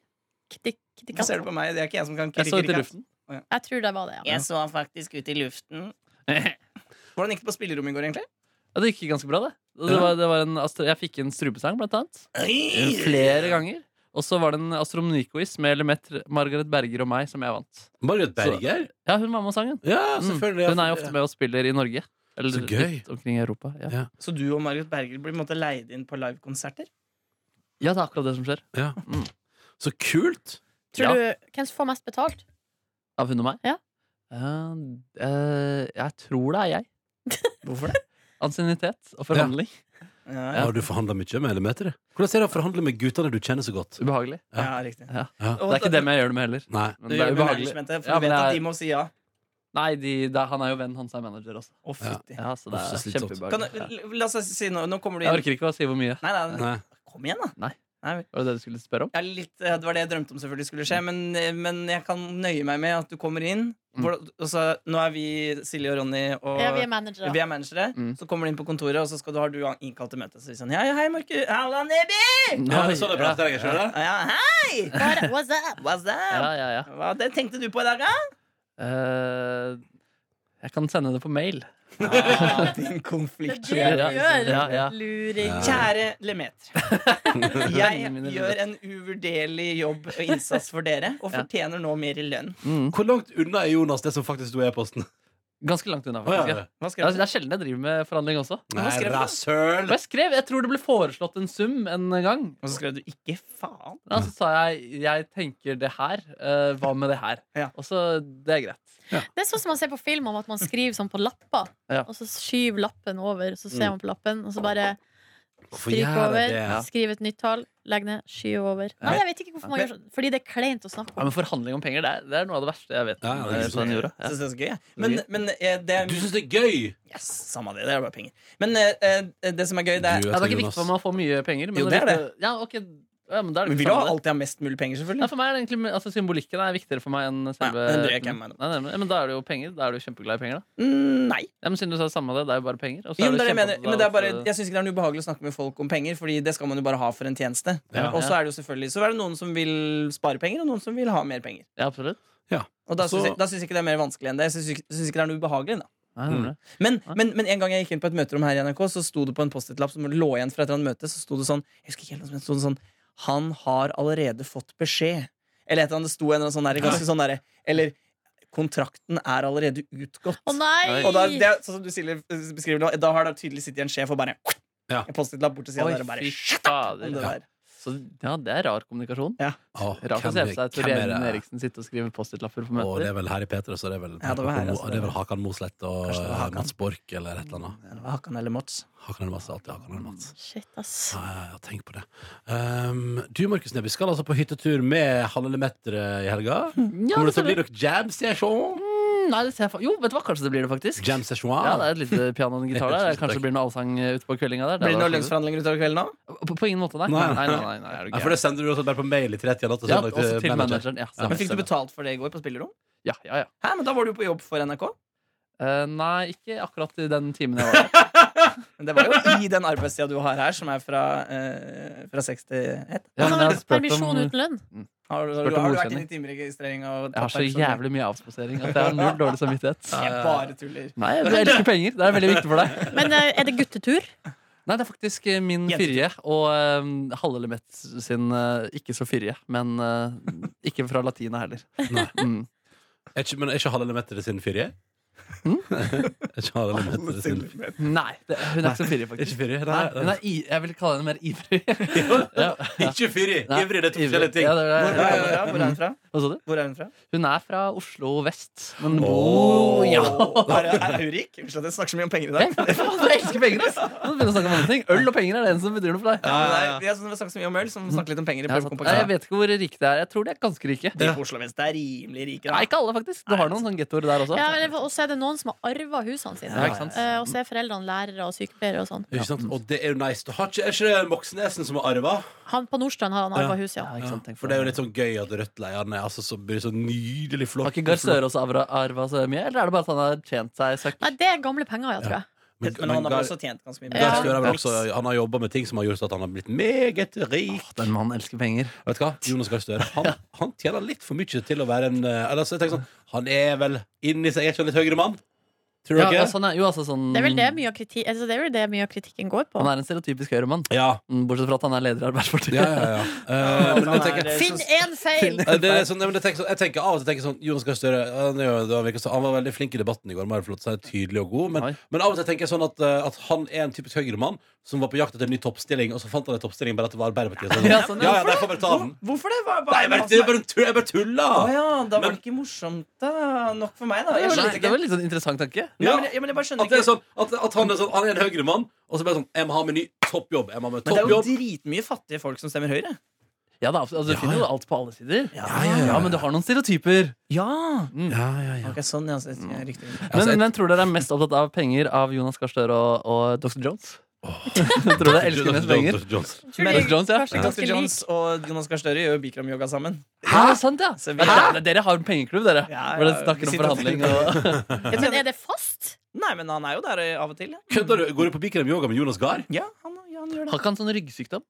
[SPEAKER 5] Kitty- Kitty
[SPEAKER 4] Hva ser
[SPEAKER 5] Katt.
[SPEAKER 4] du på meg? Det er ikke jeg som kan
[SPEAKER 3] Jeg så ut i luften.
[SPEAKER 5] Jeg tror det var det, ja.
[SPEAKER 4] Jeg så faktisk ut i luften.
[SPEAKER 3] Ja,
[SPEAKER 4] Hvordan gikk det på spillerommet i går, egentlig?
[SPEAKER 3] det gikk ganske bra, det. det, var, det var en, astro- jeg fikk en strupesang, blant annet. Flere ganger. Og så var det en astronomiquiz med Lemetre, Margaret Berger og meg, som jeg vant.
[SPEAKER 2] Margaret Berger?
[SPEAKER 3] Ja, hun var med og sang den.
[SPEAKER 2] Ja,
[SPEAKER 3] Mm.
[SPEAKER 2] selvfølgelig.
[SPEAKER 3] Hun er jo ofte med og spiller i Norge. Eller
[SPEAKER 2] Så gøy.
[SPEAKER 3] litt omkring i Europa. Ja.
[SPEAKER 2] Ja.
[SPEAKER 4] Så du og Margaret Berger blir på en måte leid inn på livekonserter?
[SPEAKER 3] ja, det er akkurat det som skjer.
[SPEAKER 2] Ja.
[SPEAKER 3] Mm.
[SPEAKER 2] Så kult!
[SPEAKER 5] Tror du, hvem som får mest betalt?
[SPEAKER 3] Av hun og meg?
[SPEAKER 5] Ja.
[SPEAKER 3] Eh, eh, jeg tror det er jeg.
[SPEAKER 4] Hvorfor det?
[SPEAKER 3] Ansiennitet og forhandling.
[SPEAKER 4] Ja, ja.
[SPEAKER 2] Har du forhandla mye med Elemeter? Hvordan er det å forhandle med guttene du kjenner så godt?
[SPEAKER 3] Ubehagelig.
[SPEAKER 4] ja riktig.
[SPEAKER 3] Ja.
[SPEAKER 2] Ja.
[SPEAKER 3] Det er ikke dem jeg gjør det med heller.
[SPEAKER 2] Nei.
[SPEAKER 3] Men
[SPEAKER 4] Du
[SPEAKER 3] det
[SPEAKER 4] gjør
[SPEAKER 3] er
[SPEAKER 4] det med
[SPEAKER 3] ubehagelig.
[SPEAKER 4] managementet, for
[SPEAKER 3] Ja,
[SPEAKER 4] du
[SPEAKER 3] men
[SPEAKER 4] vet at
[SPEAKER 3] det
[SPEAKER 4] de
[SPEAKER 3] er-
[SPEAKER 4] må si ja.
[SPEAKER 3] Nei, de, det, han er jo venn, han som er manager også.
[SPEAKER 4] Å, fytti.
[SPEAKER 3] Ja, så det
[SPEAKER 2] Uff,
[SPEAKER 3] er
[SPEAKER 2] så slitsomt.
[SPEAKER 4] Kan
[SPEAKER 3] kjempeubehagelig. Ja.
[SPEAKER 4] du, la oss si nå, nå kommer du
[SPEAKER 3] Jeg
[SPEAKER 4] inn.
[SPEAKER 3] orker ikke å si hvor mye.
[SPEAKER 4] Nei, nei,
[SPEAKER 2] Nei.
[SPEAKER 4] kom igjen, da.
[SPEAKER 3] Var det det du skulle spørre om?
[SPEAKER 4] Jeg er litt, eh, det var det jeg drømte om selvfølgelig skulle skje, men, eh, men jeg kan nøye meg med at du kommer inn.
[SPEAKER 3] Mm.
[SPEAKER 4] Hvor, og så, nå er vi Silje og Ronny og
[SPEAKER 5] Ja, vi er managere.
[SPEAKER 4] vi er managere.
[SPEAKER 3] Mm.
[SPEAKER 4] Så kommer du inn på kontoret, og så skal du, har du innkalt til møte. Så sier sånn, ja, ja, hei, Markus. Halla, Nebby!
[SPEAKER 2] Ja, det er sånn jeg prater, jeg, skjønner du?
[SPEAKER 4] Ja, hei!
[SPEAKER 5] Bare, What's up?
[SPEAKER 4] What's
[SPEAKER 3] Ja,
[SPEAKER 4] up?
[SPEAKER 3] ja, ja.
[SPEAKER 4] Hva det tenkte du på i dag, da?
[SPEAKER 3] Eh, jeg kan sende det på mail. Ah,
[SPEAKER 4] Din
[SPEAKER 5] Det
[SPEAKER 4] konflikt.
[SPEAKER 5] er det
[SPEAKER 3] Ja,
[SPEAKER 5] du gjør,
[SPEAKER 3] ja, ja.
[SPEAKER 5] luring.
[SPEAKER 2] Ja.
[SPEAKER 4] Kjære Lemeter.
[SPEAKER 3] Vennene mine
[SPEAKER 4] Jeg gjør en uvurderlig jobb og innsats for dere, og
[SPEAKER 3] Ja.
[SPEAKER 4] fortjener nå mer i lønn.
[SPEAKER 3] Mm.
[SPEAKER 2] Hvor langt unna er Jonas det som faktisk sto i e-posten?
[SPEAKER 3] Ganske langt unna,
[SPEAKER 2] Å, ja,
[SPEAKER 3] faktisk.
[SPEAKER 2] ja.
[SPEAKER 3] ja.
[SPEAKER 4] Hva
[SPEAKER 3] Det
[SPEAKER 4] skrev
[SPEAKER 3] er-
[SPEAKER 4] du?
[SPEAKER 3] det er sjelden jeg driver med forhandling også.
[SPEAKER 2] Nei,
[SPEAKER 4] skrev du?
[SPEAKER 3] Og
[SPEAKER 2] rasshøl!
[SPEAKER 3] jeg skrev, jeg tror det ble foreslått en sum en gang.
[SPEAKER 4] Og så skrev du 'ikke faen'.
[SPEAKER 3] Da så sa jeg jeg tenker det her. eh, hva med det her?
[SPEAKER 4] Ja.
[SPEAKER 3] Og så Det er greit.
[SPEAKER 5] Det er sånn som man ser på film om at man skriver sånn på lapper,
[SPEAKER 3] Ja.
[SPEAKER 5] og så skyver lappen over, så ser
[SPEAKER 2] Mm.
[SPEAKER 5] man på lappen, og så bare
[SPEAKER 2] Hvorfor
[SPEAKER 5] stryk
[SPEAKER 2] gjør jeg
[SPEAKER 5] over,
[SPEAKER 2] det?
[SPEAKER 5] skriv et nytt tall, legg ned, skyv over. Nei, jeg vet ikke hvorfor man gjør sånn, fordi det er kleint å snakke
[SPEAKER 3] Ja,
[SPEAKER 5] om.
[SPEAKER 3] men Forhandling om penger det er, det er noe av det verste jeg vet.
[SPEAKER 2] Ja, ja, det er
[SPEAKER 3] eh,
[SPEAKER 2] ikke
[SPEAKER 3] på den jorda.
[SPEAKER 4] Jeg
[SPEAKER 3] Ja.
[SPEAKER 4] synes det er så gøy, jeg. Men, men eh, det er
[SPEAKER 2] Du syns det er gøy!
[SPEAKER 4] Yes, samme det. Det er bare penger. Men eh, eh, det som er gøy, det er
[SPEAKER 2] Du,
[SPEAKER 3] Ja, det er ikke
[SPEAKER 2] Jonas.
[SPEAKER 3] viktig for meg å få mye penger. Men
[SPEAKER 4] Jo, det er
[SPEAKER 3] viktig- Ja, ok ja, men da er det
[SPEAKER 4] Vi
[SPEAKER 3] ikke samme
[SPEAKER 4] vil jo
[SPEAKER 3] det.
[SPEAKER 4] alltid ha mest mulig penger,
[SPEAKER 3] Nei,
[SPEAKER 4] selvfølgelig.
[SPEAKER 3] for meg er det egentlig, altså, Symbolikken er viktigere for meg enn selve
[SPEAKER 4] Ja, den bryr jeg ikke meg om.
[SPEAKER 3] nei, nei, men, men da er det jo penger. Da er du kjempeglad i penger. da
[SPEAKER 4] Mm, Nei.
[SPEAKER 3] ja, Men siden du sa det samme, det, det er jo bare penger. og så er du
[SPEAKER 4] Jo, men det er det jeg mener.
[SPEAKER 3] kjempeopptatt
[SPEAKER 4] Men det
[SPEAKER 3] av
[SPEAKER 4] er bare,
[SPEAKER 3] at,
[SPEAKER 4] jeg syns ikke det er noe ubehagelig å snakke med folk om penger, Fordi det skal man jo bare ha for en tjeneste.
[SPEAKER 2] Ja.
[SPEAKER 4] Og så er det jo selvfølgelig Så er det noen som vil spare penger, og noen som vil ha mer penger.
[SPEAKER 3] Ja, absolutt.
[SPEAKER 4] Og da
[SPEAKER 2] Så-
[SPEAKER 4] syns jeg, da syns jeg ikke det er mer vanskelig enn det. Jeg syns ikke, syns ikke det er noe ubehagelig. Da.
[SPEAKER 3] Nei, det er det.
[SPEAKER 4] Men,
[SPEAKER 3] Nei.
[SPEAKER 4] men, men en gang jeg gikk inn på et møterom her i NRK, så sto det på en Post-It-lapp som lå igjen fra et eller annet møte, så sto det sånn Jeg husker ikke helt hva som het, sto det sånn Han har allerede fått beskjed. Eller et eller annet, det sto en eller annen sånn der, ganske sånn derre Eller kontrakten er allerede utgått.
[SPEAKER 5] Å nei!
[SPEAKER 4] Og da, det, er sånn som du Silje, beskriver det, da har det tydelig sittet en sjef og bare
[SPEAKER 2] Ja.
[SPEAKER 4] En Post-It-lapp bort til siden
[SPEAKER 3] Oi,
[SPEAKER 4] der og bare
[SPEAKER 3] fy
[SPEAKER 4] om det
[SPEAKER 3] fader.
[SPEAKER 4] der.
[SPEAKER 3] Så, ja, det er rar kommunikasjon.
[SPEAKER 2] Å,
[SPEAKER 3] Rart å
[SPEAKER 2] hvem
[SPEAKER 3] se
[SPEAKER 2] er-
[SPEAKER 3] for
[SPEAKER 2] hvem
[SPEAKER 3] seg Tor
[SPEAKER 2] er
[SPEAKER 3] Gjermund
[SPEAKER 2] det?
[SPEAKER 3] Eriksen sitte og skrive Post-It-lapper på
[SPEAKER 2] Og det
[SPEAKER 3] møter.
[SPEAKER 2] er vel her i Petra, så det er vel,
[SPEAKER 4] Ja, det var her, altså.
[SPEAKER 2] det er vel Hakan Mosleth og
[SPEAKER 4] Kanskje det var Hakan.
[SPEAKER 2] Mats Borch eller et eller annet.
[SPEAKER 4] Ja, det var Hakan eller Mats.
[SPEAKER 2] Hakan eller Mats er alltid Hakan eller Mats.
[SPEAKER 5] Shit, ass.
[SPEAKER 2] Ja, ja, ja, tenk på det. Um, du, Markus Neby, skal altså på hyttetur med Hanne Lemetre i helga.
[SPEAKER 3] Ja,
[SPEAKER 2] Kommer
[SPEAKER 3] det
[SPEAKER 2] det til å bli
[SPEAKER 3] ser-
[SPEAKER 2] noe jam session?
[SPEAKER 3] Mm, Nei, det ser jeg fa- Jo, vet du hva, kanskje det blir det, faktisk.
[SPEAKER 2] Jam session?
[SPEAKER 3] Ja, det er et lite piano og en gitar der. Kanskje det blir noe allsang eh, ute på kveldinga der.
[SPEAKER 4] Blir det noen
[SPEAKER 3] hadde vært
[SPEAKER 4] lønnsforhandlinger utover kvelden nå?
[SPEAKER 3] fint. på, på ingen måte, nei. Nei,
[SPEAKER 2] Nei.
[SPEAKER 3] nei, nei, nei, nei, er du
[SPEAKER 2] Ja, for
[SPEAKER 3] gæren.
[SPEAKER 2] det sender du også bare på mail i 30 natt og
[SPEAKER 3] Ja,
[SPEAKER 2] søndag
[SPEAKER 3] også til manageren. Ja,
[SPEAKER 2] Ja,
[SPEAKER 4] Men Fikk du
[SPEAKER 3] stemmer.
[SPEAKER 4] betalt for det i går på spillerom?
[SPEAKER 3] Ja, ja, ja.
[SPEAKER 4] Hæ, men da var du på jobb for NRK.
[SPEAKER 3] Eh, nei, ikke akkurat i den timen jeg var der.
[SPEAKER 4] Men det var jo i den arbeidstida du har her, som er fra, eh, fra 6 til 1.
[SPEAKER 3] Ja, men jeg har spurt om-
[SPEAKER 5] Permisjon uten lønn.
[SPEAKER 4] Har du,
[SPEAKER 3] Spurte om
[SPEAKER 4] har du, har du vært
[SPEAKER 3] godkjenning.
[SPEAKER 4] inne i timeregistrering og
[SPEAKER 3] Jeg har så
[SPEAKER 4] tatt permisjon?
[SPEAKER 3] jævlig mye avspasering at jeg har null dårlig samvittighet.
[SPEAKER 4] Jeg bare tuller.
[SPEAKER 3] Nei, du elsker penger. Det er veldig viktig for deg.
[SPEAKER 5] Men eh, er det guttetur?
[SPEAKER 3] Nei, det er faktisk eh, min
[SPEAKER 4] Jentetur.
[SPEAKER 3] firje og um, Halle Lemet sin eh, ikke så firje, men eh, ikke fra latina heller.
[SPEAKER 2] Nei.
[SPEAKER 3] Mm.
[SPEAKER 2] Er ikke, men er ikke Hanne Lemetre sin firje?
[SPEAKER 3] Hm?
[SPEAKER 2] er ikke Hanne Lemetre sin
[SPEAKER 3] Nei, det, hun er ikke så
[SPEAKER 2] Er
[SPEAKER 3] firje,
[SPEAKER 2] ikke
[SPEAKER 3] faktisk.
[SPEAKER 2] firje?
[SPEAKER 3] Nei, hun
[SPEAKER 2] Nei,
[SPEAKER 3] er i, jeg vil kalle henne mer ivrig. Ja.
[SPEAKER 2] Ikke firje!
[SPEAKER 3] Nei,
[SPEAKER 2] Ivrig, det er to
[SPEAKER 3] ivrig.
[SPEAKER 2] forskjellige ting.
[SPEAKER 3] Ja, det er-
[SPEAKER 4] Hvor er, hvor er hun fra?
[SPEAKER 3] Hva sa du?
[SPEAKER 4] Hvor er hun fra?
[SPEAKER 3] Hun er fra Oslo vest, men
[SPEAKER 2] Åh.
[SPEAKER 3] bor ja.
[SPEAKER 4] Er, er hun rik? Unnskyld at jeg snakker så mye om penger i dag.
[SPEAKER 3] Jeg elsker penger, ass! Nå begynner jeg å snakke om andre ting. Øl og penger er det eneste som betyr noe for deg.
[SPEAKER 4] Ja, men det er- Vi har sånn- vi har snakket så mye om øl, som snakker litt om penger. i
[SPEAKER 3] Ja, sant. Nei, jeg
[SPEAKER 4] prøvekompakten.
[SPEAKER 3] vet ikke hvor rike de er. Jeg tror de er ganske rike.
[SPEAKER 4] De på Oslo Vest det er rimelig rike.
[SPEAKER 3] Nei,
[SPEAKER 4] Da.
[SPEAKER 3] ikke alle, faktisk. Du har noen sånne gettoer der også.
[SPEAKER 5] Ja, men- Og så er det noen som har arva husene sine.
[SPEAKER 3] Ja, ikke sant?
[SPEAKER 5] Eh, Og så er foreldrene lærere og sykepleiere og sånn.
[SPEAKER 2] Ikke sant? Og det er jo nice. Du har ikke, er ikke det Moxnesen som har arva?
[SPEAKER 5] Han på Nordstrand har han arva hus, ja.
[SPEAKER 3] Ja, ikke
[SPEAKER 2] Ja,
[SPEAKER 3] sant, tenk
[SPEAKER 2] for det er jo litt sånn gøy at rødtleierne altså, så blir så nydelig flott.
[SPEAKER 3] Har ikke Gahr Støre også arva, arva så mye, eller er det bare at han har tjent seg søkk?
[SPEAKER 5] Nei, det er gamle penger, ja, tror jeg.
[SPEAKER 2] Men,
[SPEAKER 4] Men han har
[SPEAKER 2] Gahr-
[SPEAKER 4] også tjent ganske mye.
[SPEAKER 2] Gahr
[SPEAKER 5] Ja.
[SPEAKER 2] Støre har vel også Han har jobba med ting som har gjort at han har blitt meget rik.
[SPEAKER 3] Åh, Den mannen elsker penger.
[SPEAKER 2] Vet du hva? Jonas Gahr Støre han, han tjener litt for mye til å være en eh, eller, altså, jeg tenker sånn, Han er vel inni seg Er ikke han litt høyere mann? Tror
[SPEAKER 3] Ja,
[SPEAKER 2] dere? Ja,
[SPEAKER 3] altså, han er- jo, altså, sånn,
[SPEAKER 5] Det er vel
[SPEAKER 4] Mm.
[SPEAKER 5] det mye av, kriti altså, det er vel det mye av kritikken går på.
[SPEAKER 3] Han er en stereotypisk høyremann,
[SPEAKER 2] ja,
[SPEAKER 3] Mm, bortsett fra at han er leder i Arbeiderpartiet.
[SPEAKER 2] ja, ja, Eh, men jeg tenker,
[SPEAKER 5] Finn én feil!
[SPEAKER 2] eh, det er sånn, nei, men jeg, tenker, sånn- jeg tenker av og til tenker sånn Jonas Gahr Støre han, er jo- det var virkelig sånn- han var veldig flink i debatten i går. Bare flott, så er det tydelig og god Men,
[SPEAKER 3] Oi.
[SPEAKER 2] men av og til tenker jeg sånn at, eh, at han er en typisk høyremann som var på jakt etter en ny toppstilling, og så fant han en toppstilling bare at det var Arbeiderpartiet. Så,
[SPEAKER 3] Ja,
[SPEAKER 2] ja,
[SPEAKER 3] sånn, ja.
[SPEAKER 2] ja, der får bare ta den.
[SPEAKER 4] Hvorfor det? Hva, hva,
[SPEAKER 2] Nei, men det er bare en tull- jeg bare
[SPEAKER 4] Å
[SPEAKER 2] tuller!
[SPEAKER 4] ja, da var
[SPEAKER 2] Men-
[SPEAKER 4] det ikke morsomt da. nok for meg, da.
[SPEAKER 3] Det
[SPEAKER 4] Jeg
[SPEAKER 3] var
[SPEAKER 4] skjønte
[SPEAKER 3] litt- det
[SPEAKER 4] ikke.
[SPEAKER 3] var litt sånn interessant tanke.
[SPEAKER 4] Nei, men, jeg, ja, men jeg bare skjønner
[SPEAKER 2] At, det
[SPEAKER 4] ikke
[SPEAKER 2] er sånn, at, at han, er sånn, han er en høyre mann, og så bare sånn Jeg må ha med ny toppjobb. Jeg må ha med
[SPEAKER 4] Men det er jo
[SPEAKER 2] toppjobb.
[SPEAKER 4] dritmye fattige folk som stemmer Høyre.
[SPEAKER 3] Ja, da, altså, Du
[SPEAKER 2] Ja,
[SPEAKER 3] finner jo
[SPEAKER 2] ja.
[SPEAKER 3] alt på alle sider.
[SPEAKER 4] Ja,
[SPEAKER 2] ja, ja.
[SPEAKER 3] men du har noen stereotyper.
[SPEAKER 4] Ja!
[SPEAKER 3] Mm.
[SPEAKER 2] Ja, ja, ja.
[SPEAKER 4] Ok, sånn, ja. så- ja, Riktig.
[SPEAKER 3] Men
[SPEAKER 2] Altså, jeg-
[SPEAKER 3] hvem tror dere er mest opptatt av penger av Jonas Gahr Støre og, og Dr. Jones? tror dere elsker mest penger?
[SPEAKER 2] Dr. Jones.
[SPEAKER 5] Tror
[SPEAKER 3] Dr.
[SPEAKER 5] du-
[SPEAKER 3] Jones, ja.
[SPEAKER 5] Kanskje ganske
[SPEAKER 4] Dr.
[SPEAKER 5] lik.
[SPEAKER 4] Jones og Jonas Gahr Støre gjør bikram-yoga sammen.
[SPEAKER 3] Hæ? Ja, sant, ja.
[SPEAKER 4] Så vi-
[SPEAKER 3] Men dere- Dere har en pengeklubb, dere.
[SPEAKER 4] Ja, ja,
[SPEAKER 3] Hvor det
[SPEAKER 4] vi
[SPEAKER 3] snakker om
[SPEAKER 4] sitter og
[SPEAKER 3] forhandling og
[SPEAKER 5] Men er det fast?
[SPEAKER 4] Nei, men han er jo der eh, av og til. Ja,
[SPEAKER 2] Kødder du? Går du på Bikram yoga med Jonas Gahr?
[SPEAKER 4] ja, han, ja han gjør
[SPEAKER 3] Har
[SPEAKER 4] det.
[SPEAKER 3] ikke han sånn ryggsykdom?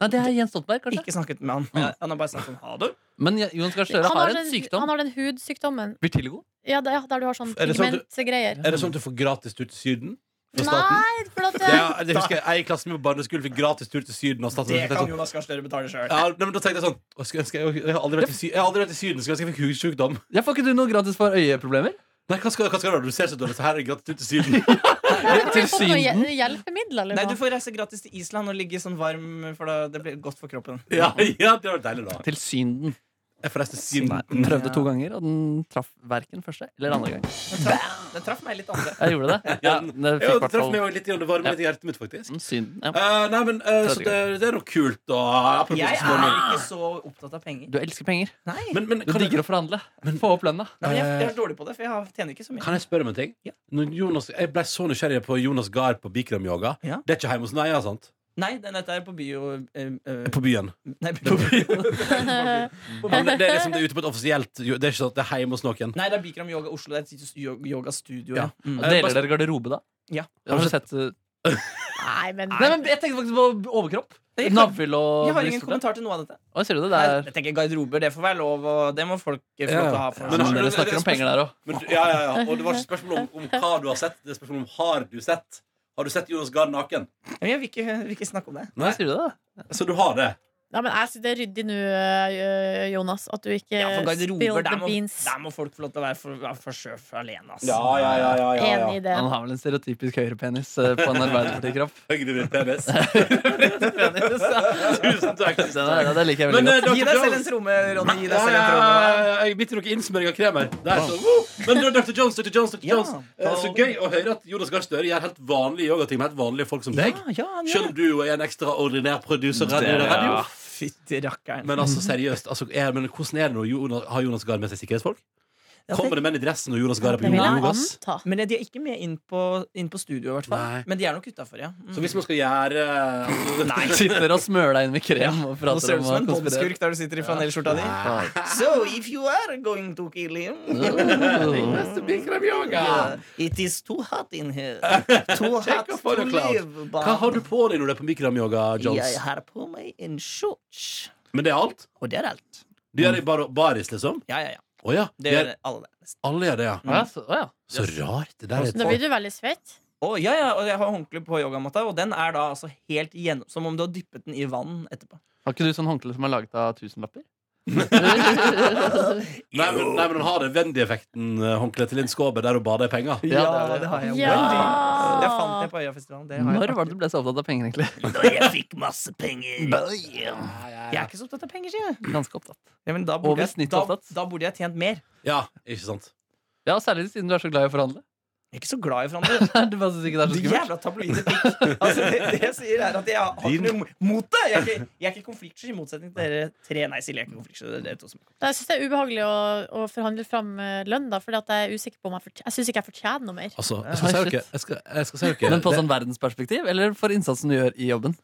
[SPEAKER 3] Nei, det er Jens Stoltenberg, kanskje.
[SPEAKER 4] Ikke Mm. snakket med han. Ja, han har bare snakket om ha
[SPEAKER 2] Altså,
[SPEAKER 4] det.
[SPEAKER 3] Men Ja- Jonas Gahr Støre har, en sykdom.
[SPEAKER 5] han har den hudsykdommen.
[SPEAKER 3] Vitiligo.
[SPEAKER 5] Ja, der, der du har sånn
[SPEAKER 2] Er det sånn du-
[SPEAKER 5] pigmentgreier.
[SPEAKER 2] Er det sånn at du får gratis tur til Syden? Fra staten?
[SPEAKER 5] Nei, for at eh,
[SPEAKER 2] Ja,
[SPEAKER 5] det,
[SPEAKER 2] det husker jeg, jeg i klassen min på barneskolen fikk gratis tur til Syden. Og staten,
[SPEAKER 4] Det
[SPEAKER 2] jeg tenkte
[SPEAKER 4] kan
[SPEAKER 2] sånn,
[SPEAKER 4] Jonas Gahr Støre betale sjøl.
[SPEAKER 2] ja, nei, men da tenkte jeg sånn «Å, skal- skal Jeg jeg har aldri vært i Sy- jeg har aldri vært i Syden, skulle ønske jeg fikk hudsykdom.
[SPEAKER 3] Ja, får ikke du noe gratis for øyesykdommer?
[SPEAKER 2] Nei, hva skal, hva skal det være? Du ser så dårlig, så her er gratitud til Syden.
[SPEAKER 5] Har vi
[SPEAKER 3] Til
[SPEAKER 5] fått noen
[SPEAKER 3] Syden?
[SPEAKER 5] hjel- hjelpemidler, eller
[SPEAKER 4] Nei, du
[SPEAKER 5] noe?
[SPEAKER 4] får reise gratis til Island og ligge sånn varm, for da, det blir godt for kroppen.
[SPEAKER 2] Ja, ja, det var deilig, da.
[SPEAKER 3] Til Synden.
[SPEAKER 2] Jeg får reise til
[SPEAKER 3] Nei,
[SPEAKER 2] Syden.
[SPEAKER 3] den prøvde to ganger, og den traff verken første eller andre gang.
[SPEAKER 4] Den traff, den traff meg litt andre.
[SPEAKER 3] Jeg gjorde det. Ja,
[SPEAKER 2] Ja,
[SPEAKER 3] det fikk
[SPEAKER 2] Ja, det traff
[SPEAKER 3] hvertfall-
[SPEAKER 2] meg jo litt, grann, det varmer litt i hjertet mitt, faktisk.
[SPEAKER 3] Mm, Synden. Ja.
[SPEAKER 2] Eh, nei, men eh, så
[SPEAKER 3] Tredje
[SPEAKER 2] det, det er noe kult, da. Apropos
[SPEAKER 4] Jeg er
[SPEAKER 2] småmenn.
[SPEAKER 4] ikke så opptatt av penger.
[SPEAKER 3] Du elsker penger.
[SPEAKER 4] Nei,
[SPEAKER 2] Men,
[SPEAKER 4] Eh,
[SPEAKER 2] men
[SPEAKER 3] Du
[SPEAKER 2] kan, jeg,
[SPEAKER 3] digger å forhandle. Få opp lønna.
[SPEAKER 4] Nei, men jeg, jeg er dårlig på det, for jeg har- tjener ikke så mye.
[SPEAKER 2] kan jeg spørre om en ting?
[SPEAKER 4] Ja.
[SPEAKER 2] Når Jonas, jeg ble så nysgjerrig på Jonas Gahr på Bikram-yoga.
[SPEAKER 4] Ja.
[SPEAKER 2] Det er ikke hjemme hos Neia, sant?
[SPEAKER 4] Nei, den dette er på bio eh, eh,
[SPEAKER 2] På byen.
[SPEAKER 4] Nei, på bio.
[SPEAKER 2] Men det, det er liksom det er ute på et offisielt Det er ikke sånn at det er hjemme hos noen.
[SPEAKER 4] Nei, det er Bikram Yoga Oslo. Det er et yo- yogastudio.
[SPEAKER 2] Ja.
[SPEAKER 4] Ja. Mm.
[SPEAKER 2] Eh,
[SPEAKER 3] Deler
[SPEAKER 2] bare-
[SPEAKER 3] dere garderobe, da?
[SPEAKER 4] Ja.
[SPEAKER 3] Har du sett uh,
[SPEAKER 5] Nei, men
[SPEAKER 3] Nei, men jeg tenkte faktisk på overkropp.
[SPEAKER 4] Jeg-
[SPEAKER 3] Navl og
[SPEAKER 4] Jeg har ingen
[SPEAKER 3] brystvorte.
[SPEAKER 4] kommentar til noe av dette.
[SPEAKER 3] Oi, ser du det? Det
[SPEAKER 4] Nei,
[SPEAKER 3] er
[SPEAKER 4] jeg tenker Garderober, det får være lov, og det må folk eh, få
[SPEAKER 2] Ja.
[SPEAKER 4] lov til å ha.
[SPEAKER 2] Men
[SPEAKER 4] For
[SPEAKER 3] men,
[SPEAKER 2] har-
[SPEAKER 3] Dere snakker om penger der òg.
[SPEAKER 2] Men, du- ja, ja, ja. Og det var ikke spørsmål om, om hva du har sett, det er spørsmål om har du sett. Har du sett Jonas Gahr naken?
[SPEAKER 4] Men jeg vil ikke, vil ikke snakke om
[SPEAKER 5] Eh,
[SPEAKER 4] det.
[SPEAKER 2] Nei.
[SPEAKER 3] Sier du det?
[SPEAKER 2] Så du har det?
[SPEAKER 5] Nei, men jeg synes det er ryddig nå, øh, Jonas, at du ikke
[SPEAKER 4] Ja, for
[SPEAKER 5] spill
[SPEAKER 4] garderober,
[SPEAKER 5] the
[SPEAKER 4] der må,
[SPEAKER 5] beans.
[SPEAKER 4] der må folk få lov til å være for, være for sjøf alene, altså.
[SPEAKER 2] Ja, ja, ja. ja, ja, ja.
[SPEAKER 5] Enig i det.
[SPEAKER 3] Han har vel en stereotypisk høyrepenis eh, på en arbeiderpartikropp.
[SPEAKER 2] Høyre ditt penis.
[SPEAKER 3] Den
[SPEAKER 2] Tusen takk.
[SPEAKER 3] er- den liker jeg veldig
[SPEAKER 2] Men, eh,
[SPEAKER 3] godt.
[SPEAKER 2] Dr.
[SPEAKER 4] Gi deg selv
[SPEAKER 2] Jones.
[SPEAKER 4] en tromme, Ronny. Gi deg
[SPEAKER 2] Ja,
[SPEAKER 4] selv
[SPEAKER 2] ja,
[SPEAKER 4] en
[SPEAKER 2] ja,
[SPEAKER 4] tromme.
[SPEAKER 2] ja, Jeg biter noe innsmøring av krem her. Der, så, woo! Men du, Dr. Jones, Dr. Jones, Dr.
[SPEAKER 4] Ja.
[SPEAKER 2] Jones. Eh, Så gøy å høre at Jonas Gahr Støre gjør helt vanlige yogating med helt vanlige folk som deg.
[SPEAKER 4] Ah, Ja, ja, ja.
[SPEAKER 2] Selv om du jo er en ekstraordinær producer.
[SPEAKER 3] Det er-
[SPEAKER 2] Radio, radio.
[SPEAKER 3] ja.
[SPEAKER 4] Fytti rakkeren.
[SPEAKER 2] Men altså, seriøst, altså, er, men hvordan er det når Jonas, har Jonas Gahr med seg sikkerhetsfolk?
[SPEAKER 4] Ja, det-
[SPEAKER 2] Kommer det menn i dressen når Jonas Gahr er
[SPEAKER 5] Det
[SPEAKER 2] på
[SPEAKER 5] vil
[SPEAKER 2] jorda?
[SPEAKER 5] jeg
[SPEAKER 2] Jonas?
[SPEAKER 5] anta.
[SPEAKER 4] Men de er ikke med inn på, inn på studio, i hvert
[SPEAKER 2] Nei.
[SPEAKER 4] fall. Men de er nok utafor, ja. Mm.
[SPEAKER 2] Så hvis man skal gjøre altså,
[SPEAKER 4] Nei,
[SPEAKER 3] Sitter og smører deg inn med krem og
[SPEAKER 4] Nå
[SPEAKER 3] prater
[SPEAKER 4] ser
[SPEAKER 3] om
[SPEAKER 4] du
[SPEAKER 3] å
[SPEAKER 4] ut som en
[SPEAKER 3] konspirere.
[SPEAKER 4] Bob-skurk der du sitter i flanellskjorta di.
[SPEAKER 3] Faen.
[SPEAKER 4] So if you are going to kill him
[SPEAKER 2] Neste Bikram yoga.
[SPEAKER 4] yeah, It is too hot in here. Too hot
[SPEAKER 2] off all
[SPEAKER 4] to
[SPEAKER 2] the clouds.
[SPEAKER 4] live by.
[SPEAKER 2] Hva har du på deg når du er på Bikram-yoga,
[SPEAKER 4] Jeg
[SPEAKER 2] Jones?
[SPEAKER 4] har på meg en shorts.
[SPEAKER 2] Men det er alt?
[SPEAKER 4] Og det er alt.
[SPEAKER 2] Du gjør det i bar baris, liksom?
[SPEAKER 4] Ja, ja, ja.
[SPEAKER 2] Å ja.
[SPEAKER 4] Det
[SPEAKER 2] gjør-
[SPEAKER 4] gjør alle det. nesten.
[SPEAKER 2] Alle gjør det, ja.
[SPEAKER 3] Å ja, så- å ja.
[SPEAKER 2] Så rart. Det der er
[SPEAKER 5] Da blir du veldig svett.
[SPEAKER 4] Å, ja, ja, og jeg har håndkle på yogamatta, og den er da altså helt gjennom Som om du har dyppet den i vann etterpå.
[SPEAKER 3] Har ikke du sånn håndkle som er laget av tusenlapper?
[SPEAKER 2] Nei, men, nei, men han har den Wendy-effekten, eh, håndkleet til Linn Skåber, der hun bader i penger.
[SPEAKER 3] Ja, det er det.
[SPEAKER 4] har
[SPEAKER 5] Ja!
[SPEAKER 4] Veldig. Det fant jeg på Øyafestivalen. Det har jeg
[SPEAKER 3] Når var det
[SPEAKER 4] faktisk.
[SPEAKER 3] du ble så opptatt av penger, egentlig?
[SPEAKER 4] Da jeg fikk masse penger. Jeg er ikke så opptatt av penger, sier jeg.
[SPEAKER 3] Ganske opptatt.
[SPEAKER 4] Ja, men da
[SPEAKER 3] Over
[SPEAKER 4] burde, jeg,
[SPEAKER 3] snittet
[SPEAKER 4] da,
[SPEAKER 3] opptatt.
[SPEAKER 4] da burde jeg tjent mer.
[SPEAKER 2] Ja, ikke sant?
[SPEAKER 3] Ja, Særlig siden du er så glad i å forhandle.
[SPEAKER 4] Jeg er ikke så glad i forandre.
[SPEAKER 3] Du bare synes ikke det er så
[SPEAKER 4] De
[SPEAKER 3] skummelt
[SPEAKER 4] jævla tabloide pikk. Altså, det, det jeg sier, er at jeg har
[SPEAKER 2] Din-
[SPEAKER 4] ikke noe mo- mot det. Jeg er ikke, jeg er ikke konfliktsky, i motsetning til dere tre. Nei, Silje, jeg er ikke konfliktsky. Det er dere to som
[SPEAKER 5] Jeg syns det er ubehagelig å, å forhandle fram eh, lønn, da, for jeg er usikker på om jeg, fortjener, jeg synes ikke jeg fortjener noe mer.
[SPEAKER 2] Altså, jeg skal si
[SPEAKER 3] Ah,
[SPEAKER 2] dere
[SPEAKER 3] shit.
[SPEAKER 2] jeg skal, jeg skal si dere-
[SPEAKER 3] Men på
[SPEAKER 2] det-
[SPEAKER 3] sånn verdensperspektiv, eller for innsatsen du gjør i jobben?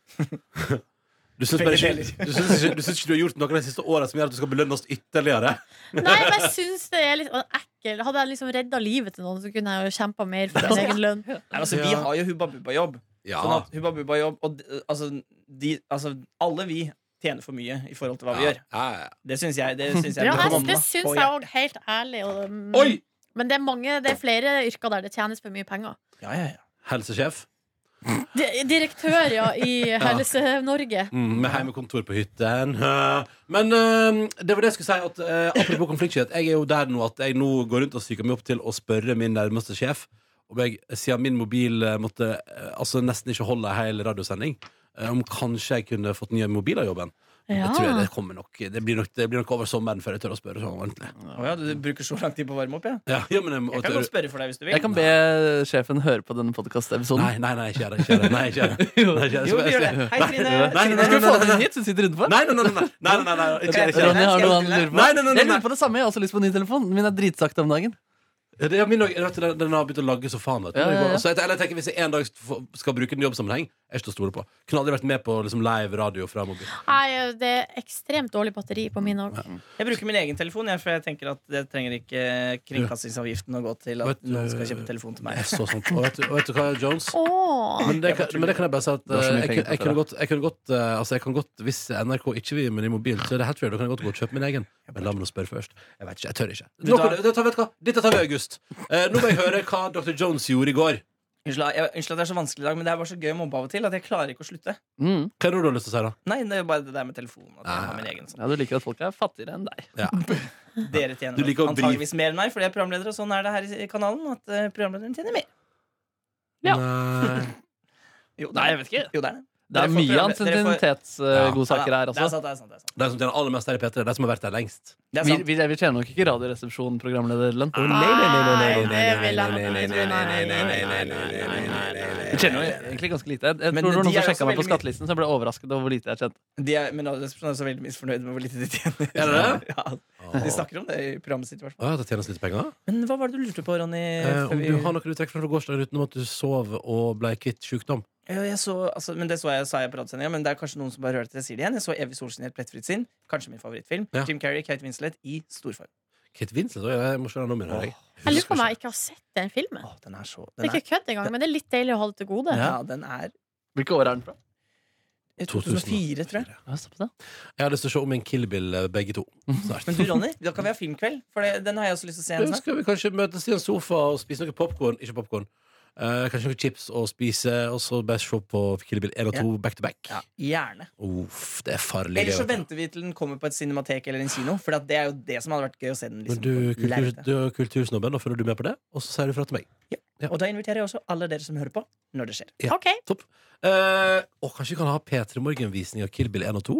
[SPEAKER 2] Du syns bare ikke du syns ikke, du syns ikke du har gjort noe de siste åra som gjør at du skal belønne oss ytterligere?
[SPEAKER 5] Nei, men jeg syns det er litt sånn ekkelt. Hadde jeg liksom redda livet til noen, så kunne jeg jo kjempa mer for min egen lønn.
[SPEAKER 4] Nei, altså, Vi
[SPEAKER 2] Ja.
[SPEAKER 4] har jo Hubba Bubba-jobb.
[SPEAKER 2] Ja.
[SPEAKER 4] Sånn at Hubba Bubba-jobb Og d- altså, de, altså, alle vi tjener for mye i forhold til hva vi gjør.
[SPEAKER 2] Ja, ja, ja.
[SPEAKER 4] Det syns jeg. Det syns jeg
[SPEAKER 5] Ja,
[SPEAKER 4] bør
[SPEAKER 5] jeg,
[SPEAKER 4] komme
[SPEAKER 5] det
[SPEAKER 4] på
[SPEAKER 5] syns jeg
[SPEAKER 4] hjertet.
[SPEAKER 5] òg, helt ærlig. Og, mm,
[SPEAKER 2] Oi!
[SPEAKER 5] Men det er, mange, det er flere yrker der det tjenes for mye penger.
[SPEAKER 4] Ja, ja, ja.
[SPEAKER 2] Helsesjef
[SPEAKER 5] Di- Direktører i Helse-Norge.
[SPEAKER 2] mm, med heimekontor på hytten. Hø. Men eh, det var det jeg skulle si. At, eh, apropos konfliktskyhet. Jeg er jo der nå at jeg nå går rundt og psyker meg opp til å spørre min nærmeste sjef om jeg, siden min mobil eh, måtte eh, altså nesten ikke holde en hel radiosending, eh, om kanskje jeg kunne fått nye mobiler i jobben.
[SPEAKER 5] Ja.
[SPEAKER 2] Jeg tror jeg det kommer nok Det blir nok, det blir nok over sommeren før jeg tør å spørre sånn ordentlig.
[SPEAKER 4] Å ja, du bruker så lang tid på å varme opp, ja?
[SPEAKER 2] Ja, ja, men jeg, må-
[SPEAKER 4] Jeg kan godt spørre for deg hvis du vil.
[SPEAKER 3] Jeg kan be sjefen høre på denne podkastepisoden.
[SPEAKER 2] Nei, nei, nei, ikke gjør det. Ikke gjør det. Nei, ikke gjør det. Nei, ikke gjør det.
[SPEAKER 4] Jo, vi gjør det. Hei, Trine.
[SPEAKER 2] Nei, nei, nei,
[SPEAKER 3] Skal
[SPEAKER 2] nei, nei,
[SPEAKER 3] vi få han
[SPEAKER 2] nei.
[SPEAKER 3] inn hit? Hun sitter utenfor.
[SPEAKER 2] Nei, nei, nei, nei, nei, nei, nei, nei, ikke gjør det, ikke gjør det.
[SPEAKER 3] Ronny, har du noe han lurer på?
[SPEAKER 2] Nei, nei, nei, nei,
[SPEAKER 3] Jeg lurer på det samme. Jeg har også lyst på en ny telefon. Min er dritsakte om dagen.
[SPEAKER 2] Det er min også- vet du, den- Den har begynt å lagge så faen. Vet du.
[SPEAKER 3] Ja, ja, ja.
[SPEAKER 2] Så jeg, eller jeg tenker, hvis jeg en dag f- skal bruke den i jobbsammenheng, jeg er ikke til å stole på. Kunne aldri vært med på liksom, live radio fra mobil.
[SPEAKER 5] Nei, det er ekstremt dårlig batteri på min òg.
[SPEAKER 4] Jeg bruker min egen telefon, jeg, for jeg tenker at det trenger ikke kringkastingsavgiften å gå til
[SPEAKER 2] Vet
[SPEAKER 4] at
[SPEAKER 2] du-
[SPEAKER 4] noen skal kjøpe telefon
[SPEAKER 2] Jeg
[SPEAKER 4] til meg.
[SPEAKER 2] er så sånn. Og vet, du- og vet du hva, Jones?
[SPEAKER 5] Åh
[SPEAKER 2] Men det, kan, men det kan jeg bare si at
[SPEAKER 3] har så mye
[SPEAKER 2] eh, jeg,
[SPEAKER 3] penger
[SPEAKER 2] kunne-
[SPEAKER 3] på
[SPEAKER 2] jeg kunne godt, jeg kunne godt eh, Altså jeg kan godt Hvis NRK ikke vil gi meg en mobil, så er det helt fair. Da kan jeg godt gå og kjøpe min egen. Men la meg nå spørre først. Jeg vet ikke, jeg tør ikke. Nå, kan du- det, tar- vet du hva? Dette tar vi i august. Eh, nå må jeg høre hva Dr. Jones gjorde i går.
[SPEAKER 4] Unnskyld jeg- unnskyld at det er så vanskelig i dag, men det er bare så gøy å mobbe av og til at jeg klarer ikke å slutte.
[SPEAKER 3] Mm.
[SPEAKER 2] Hva er det du har lyst til å si, da? Ah.
[SPEAKER 4] Nei, det er jo bare det der med telefonen. At jeg har min egen sånn.
[SPEAKER 3] Ja, du liker at folk er fattigere enn deg.
[SPEAKER 2] Ja.
[SPEAKER 4] Dere tjener
[SPEAKER 2] Du liker å
[SPEAKER 4] antageligvis mer enn meg, fordi jeg er programleder, og sånn er det her i- i kanalen. At eh, programlederen tjener mer.
[SPEAKER 3] Ja.
[SPEAKER 2] Nei.
[SPEAKER 4] Jo, det
[SPEAKER 3] Nei,
[SPEAKER 4] er
[SPEAKER 3] jeg vet ikke.
[SPEAKER 4] Jo, det er det.
[SPEAKER 3] Det
[SPEAKER 4] Dere
[SPEAKER 3] er
[SPEAKER 4] får
[SPEAKER 3] mye
[SPEAKER 4] programle- dere får-
[SPEAKER 2] Ja,
[SPEAKER 3] antennitetsgodsaker
[SPEAKER 4] Ja,
[SPEAKER 3] her,
[SPEAKER 4] Det er
[SPEAKER 3] altså.
[SPEAKER 4] sant, det er sant. Det er sant.
[SPEAKER 2] De som tjener aller mest her i P3, er de som har vært der lengst.
[SPEAKER 4] Det er
[SPEAKER 3] Vi,
[SPEAKER 4] sant.
[SPEAKER 3] vi, vi tjener nok ikke Radioresepsjonen programlederlønn. Vi tjener jo egentlig ganske lite. Jeg, jeg
[SPEAKER 4] Men
[SPEAKER 3] tror det var noen
[SPEAKER 4] de er
[SPEAKER 3] som sjekka
[SPEAKER 4] også
[SPEAKER 3] meg på
[SPEAKER 4] veldig mye-
[SPEAKER 3] skattelisten, så jeg ble overrasket over hvor lite jeg tjente.
[SPEAKER 4] De er, men Radioresepsjonen er så veldig misfornøyd med hvor lite de tjener.
[SPEAKER 2] Er det
[SPEAKER 4] Ja,
[SPEAKER 2] Å
[SPEAKER 4] Ah. de snakker om det i programmet sitt. i hvert fall.
[SPEAKER 2] Å ja, det tjenes litt penger?
[SPEAKER 4] Men hva var det du lurte på, Ronny?
[SPEAKER 2] Eh,
[SPEAKER 4] før
[SPEAKER 2] om
[SPEAKER 4] vi-
[SPEAKER 2] du har noen uttrekk fra gårsdagen utenom at du sov og ble kvitt sykdom?
[SPEAKER 4] Ja, jeg så, altså, men Det så jeg, sa jeg på radiosendinga, men det er kanskje noen som bare hører til det, sier det igjen. Jeg så Evy Solskinn i et plettfritt sinn. Kanskje min favorittfilm.
[SPEAKER 2] Ja.
[SPEAKER 4] Jim Carrey, Kate Winslet i storform.
[SPEAKER 2] Kate Vincent, også, jeg må se den om igjen. jeg.
[SPEAKER 5] Jeg lurer på om jeg ikke har sett den filmen.
[SPEAKER 4] Å, den er så
[SPEAKER 5] Det
[SPEAKER 4] den
[SPEAKER 5] er
[SPEAKER 4] er,
[SPEAKER 5] ikke kødd engang, men det er litt deilig å ha det til gode.
[SPEAKER 4] ja, den er
[SPEAKER 3] Hvilke år er den fra?
[SPEAKER 4] i 2004, tror jeg.
[SPEAKER 3] Ja, se på det.
[SPEAKER 2] Jeg har lyst til å se om en Kill Bill, eh, begge to. Snart.
[SPEAKER 4] Men du, Ronny, da kan vi ha filmkveld. For det, den har jeg også lyst til å se.
[SPEAKER 2] Ja, så
[SPEAKER 4] igjen snart.
[SPEAKER 2] skal vi kanskje møtes i en sofa og spise noe popkorn? Ikke popkorn. Eh, kanskje noen chips og spise, og så bare se på Kill Bill 1 og 2 back to back.
[SPEAKER 4] Ja, gjerne.
[SPEAKER 2] Uff, det er farlig.
[SPEAKER 4] Eller så
[SPEAKER 2] vet du.
[SPEAKER 4] venter vi til den kommer på et cinematek eller en kino. For det er jo det som hadde vært gøy å se den.
[SPEAKER 2] Men
[SPEAKER 4] Liksom,
[SPEAKER 2] du,
[SPEAKER 4] på
[SPEAKER 2] kultur,
[SPEAKER 4] lerretet.
[SPEAKER 2] du er kultursnobben, og følger du med på det? Og så sier du fra til meg. ja.
[SPEAKER 4] Og da inviterer jeg også alle dere som hører på, når det skjer.
[SPEAKER 5] Ok,
[SPEAKER 2] Topp. Eh, og kanskje vi kan ha P3 Morgen-visning av Kill Bill 1 og 2?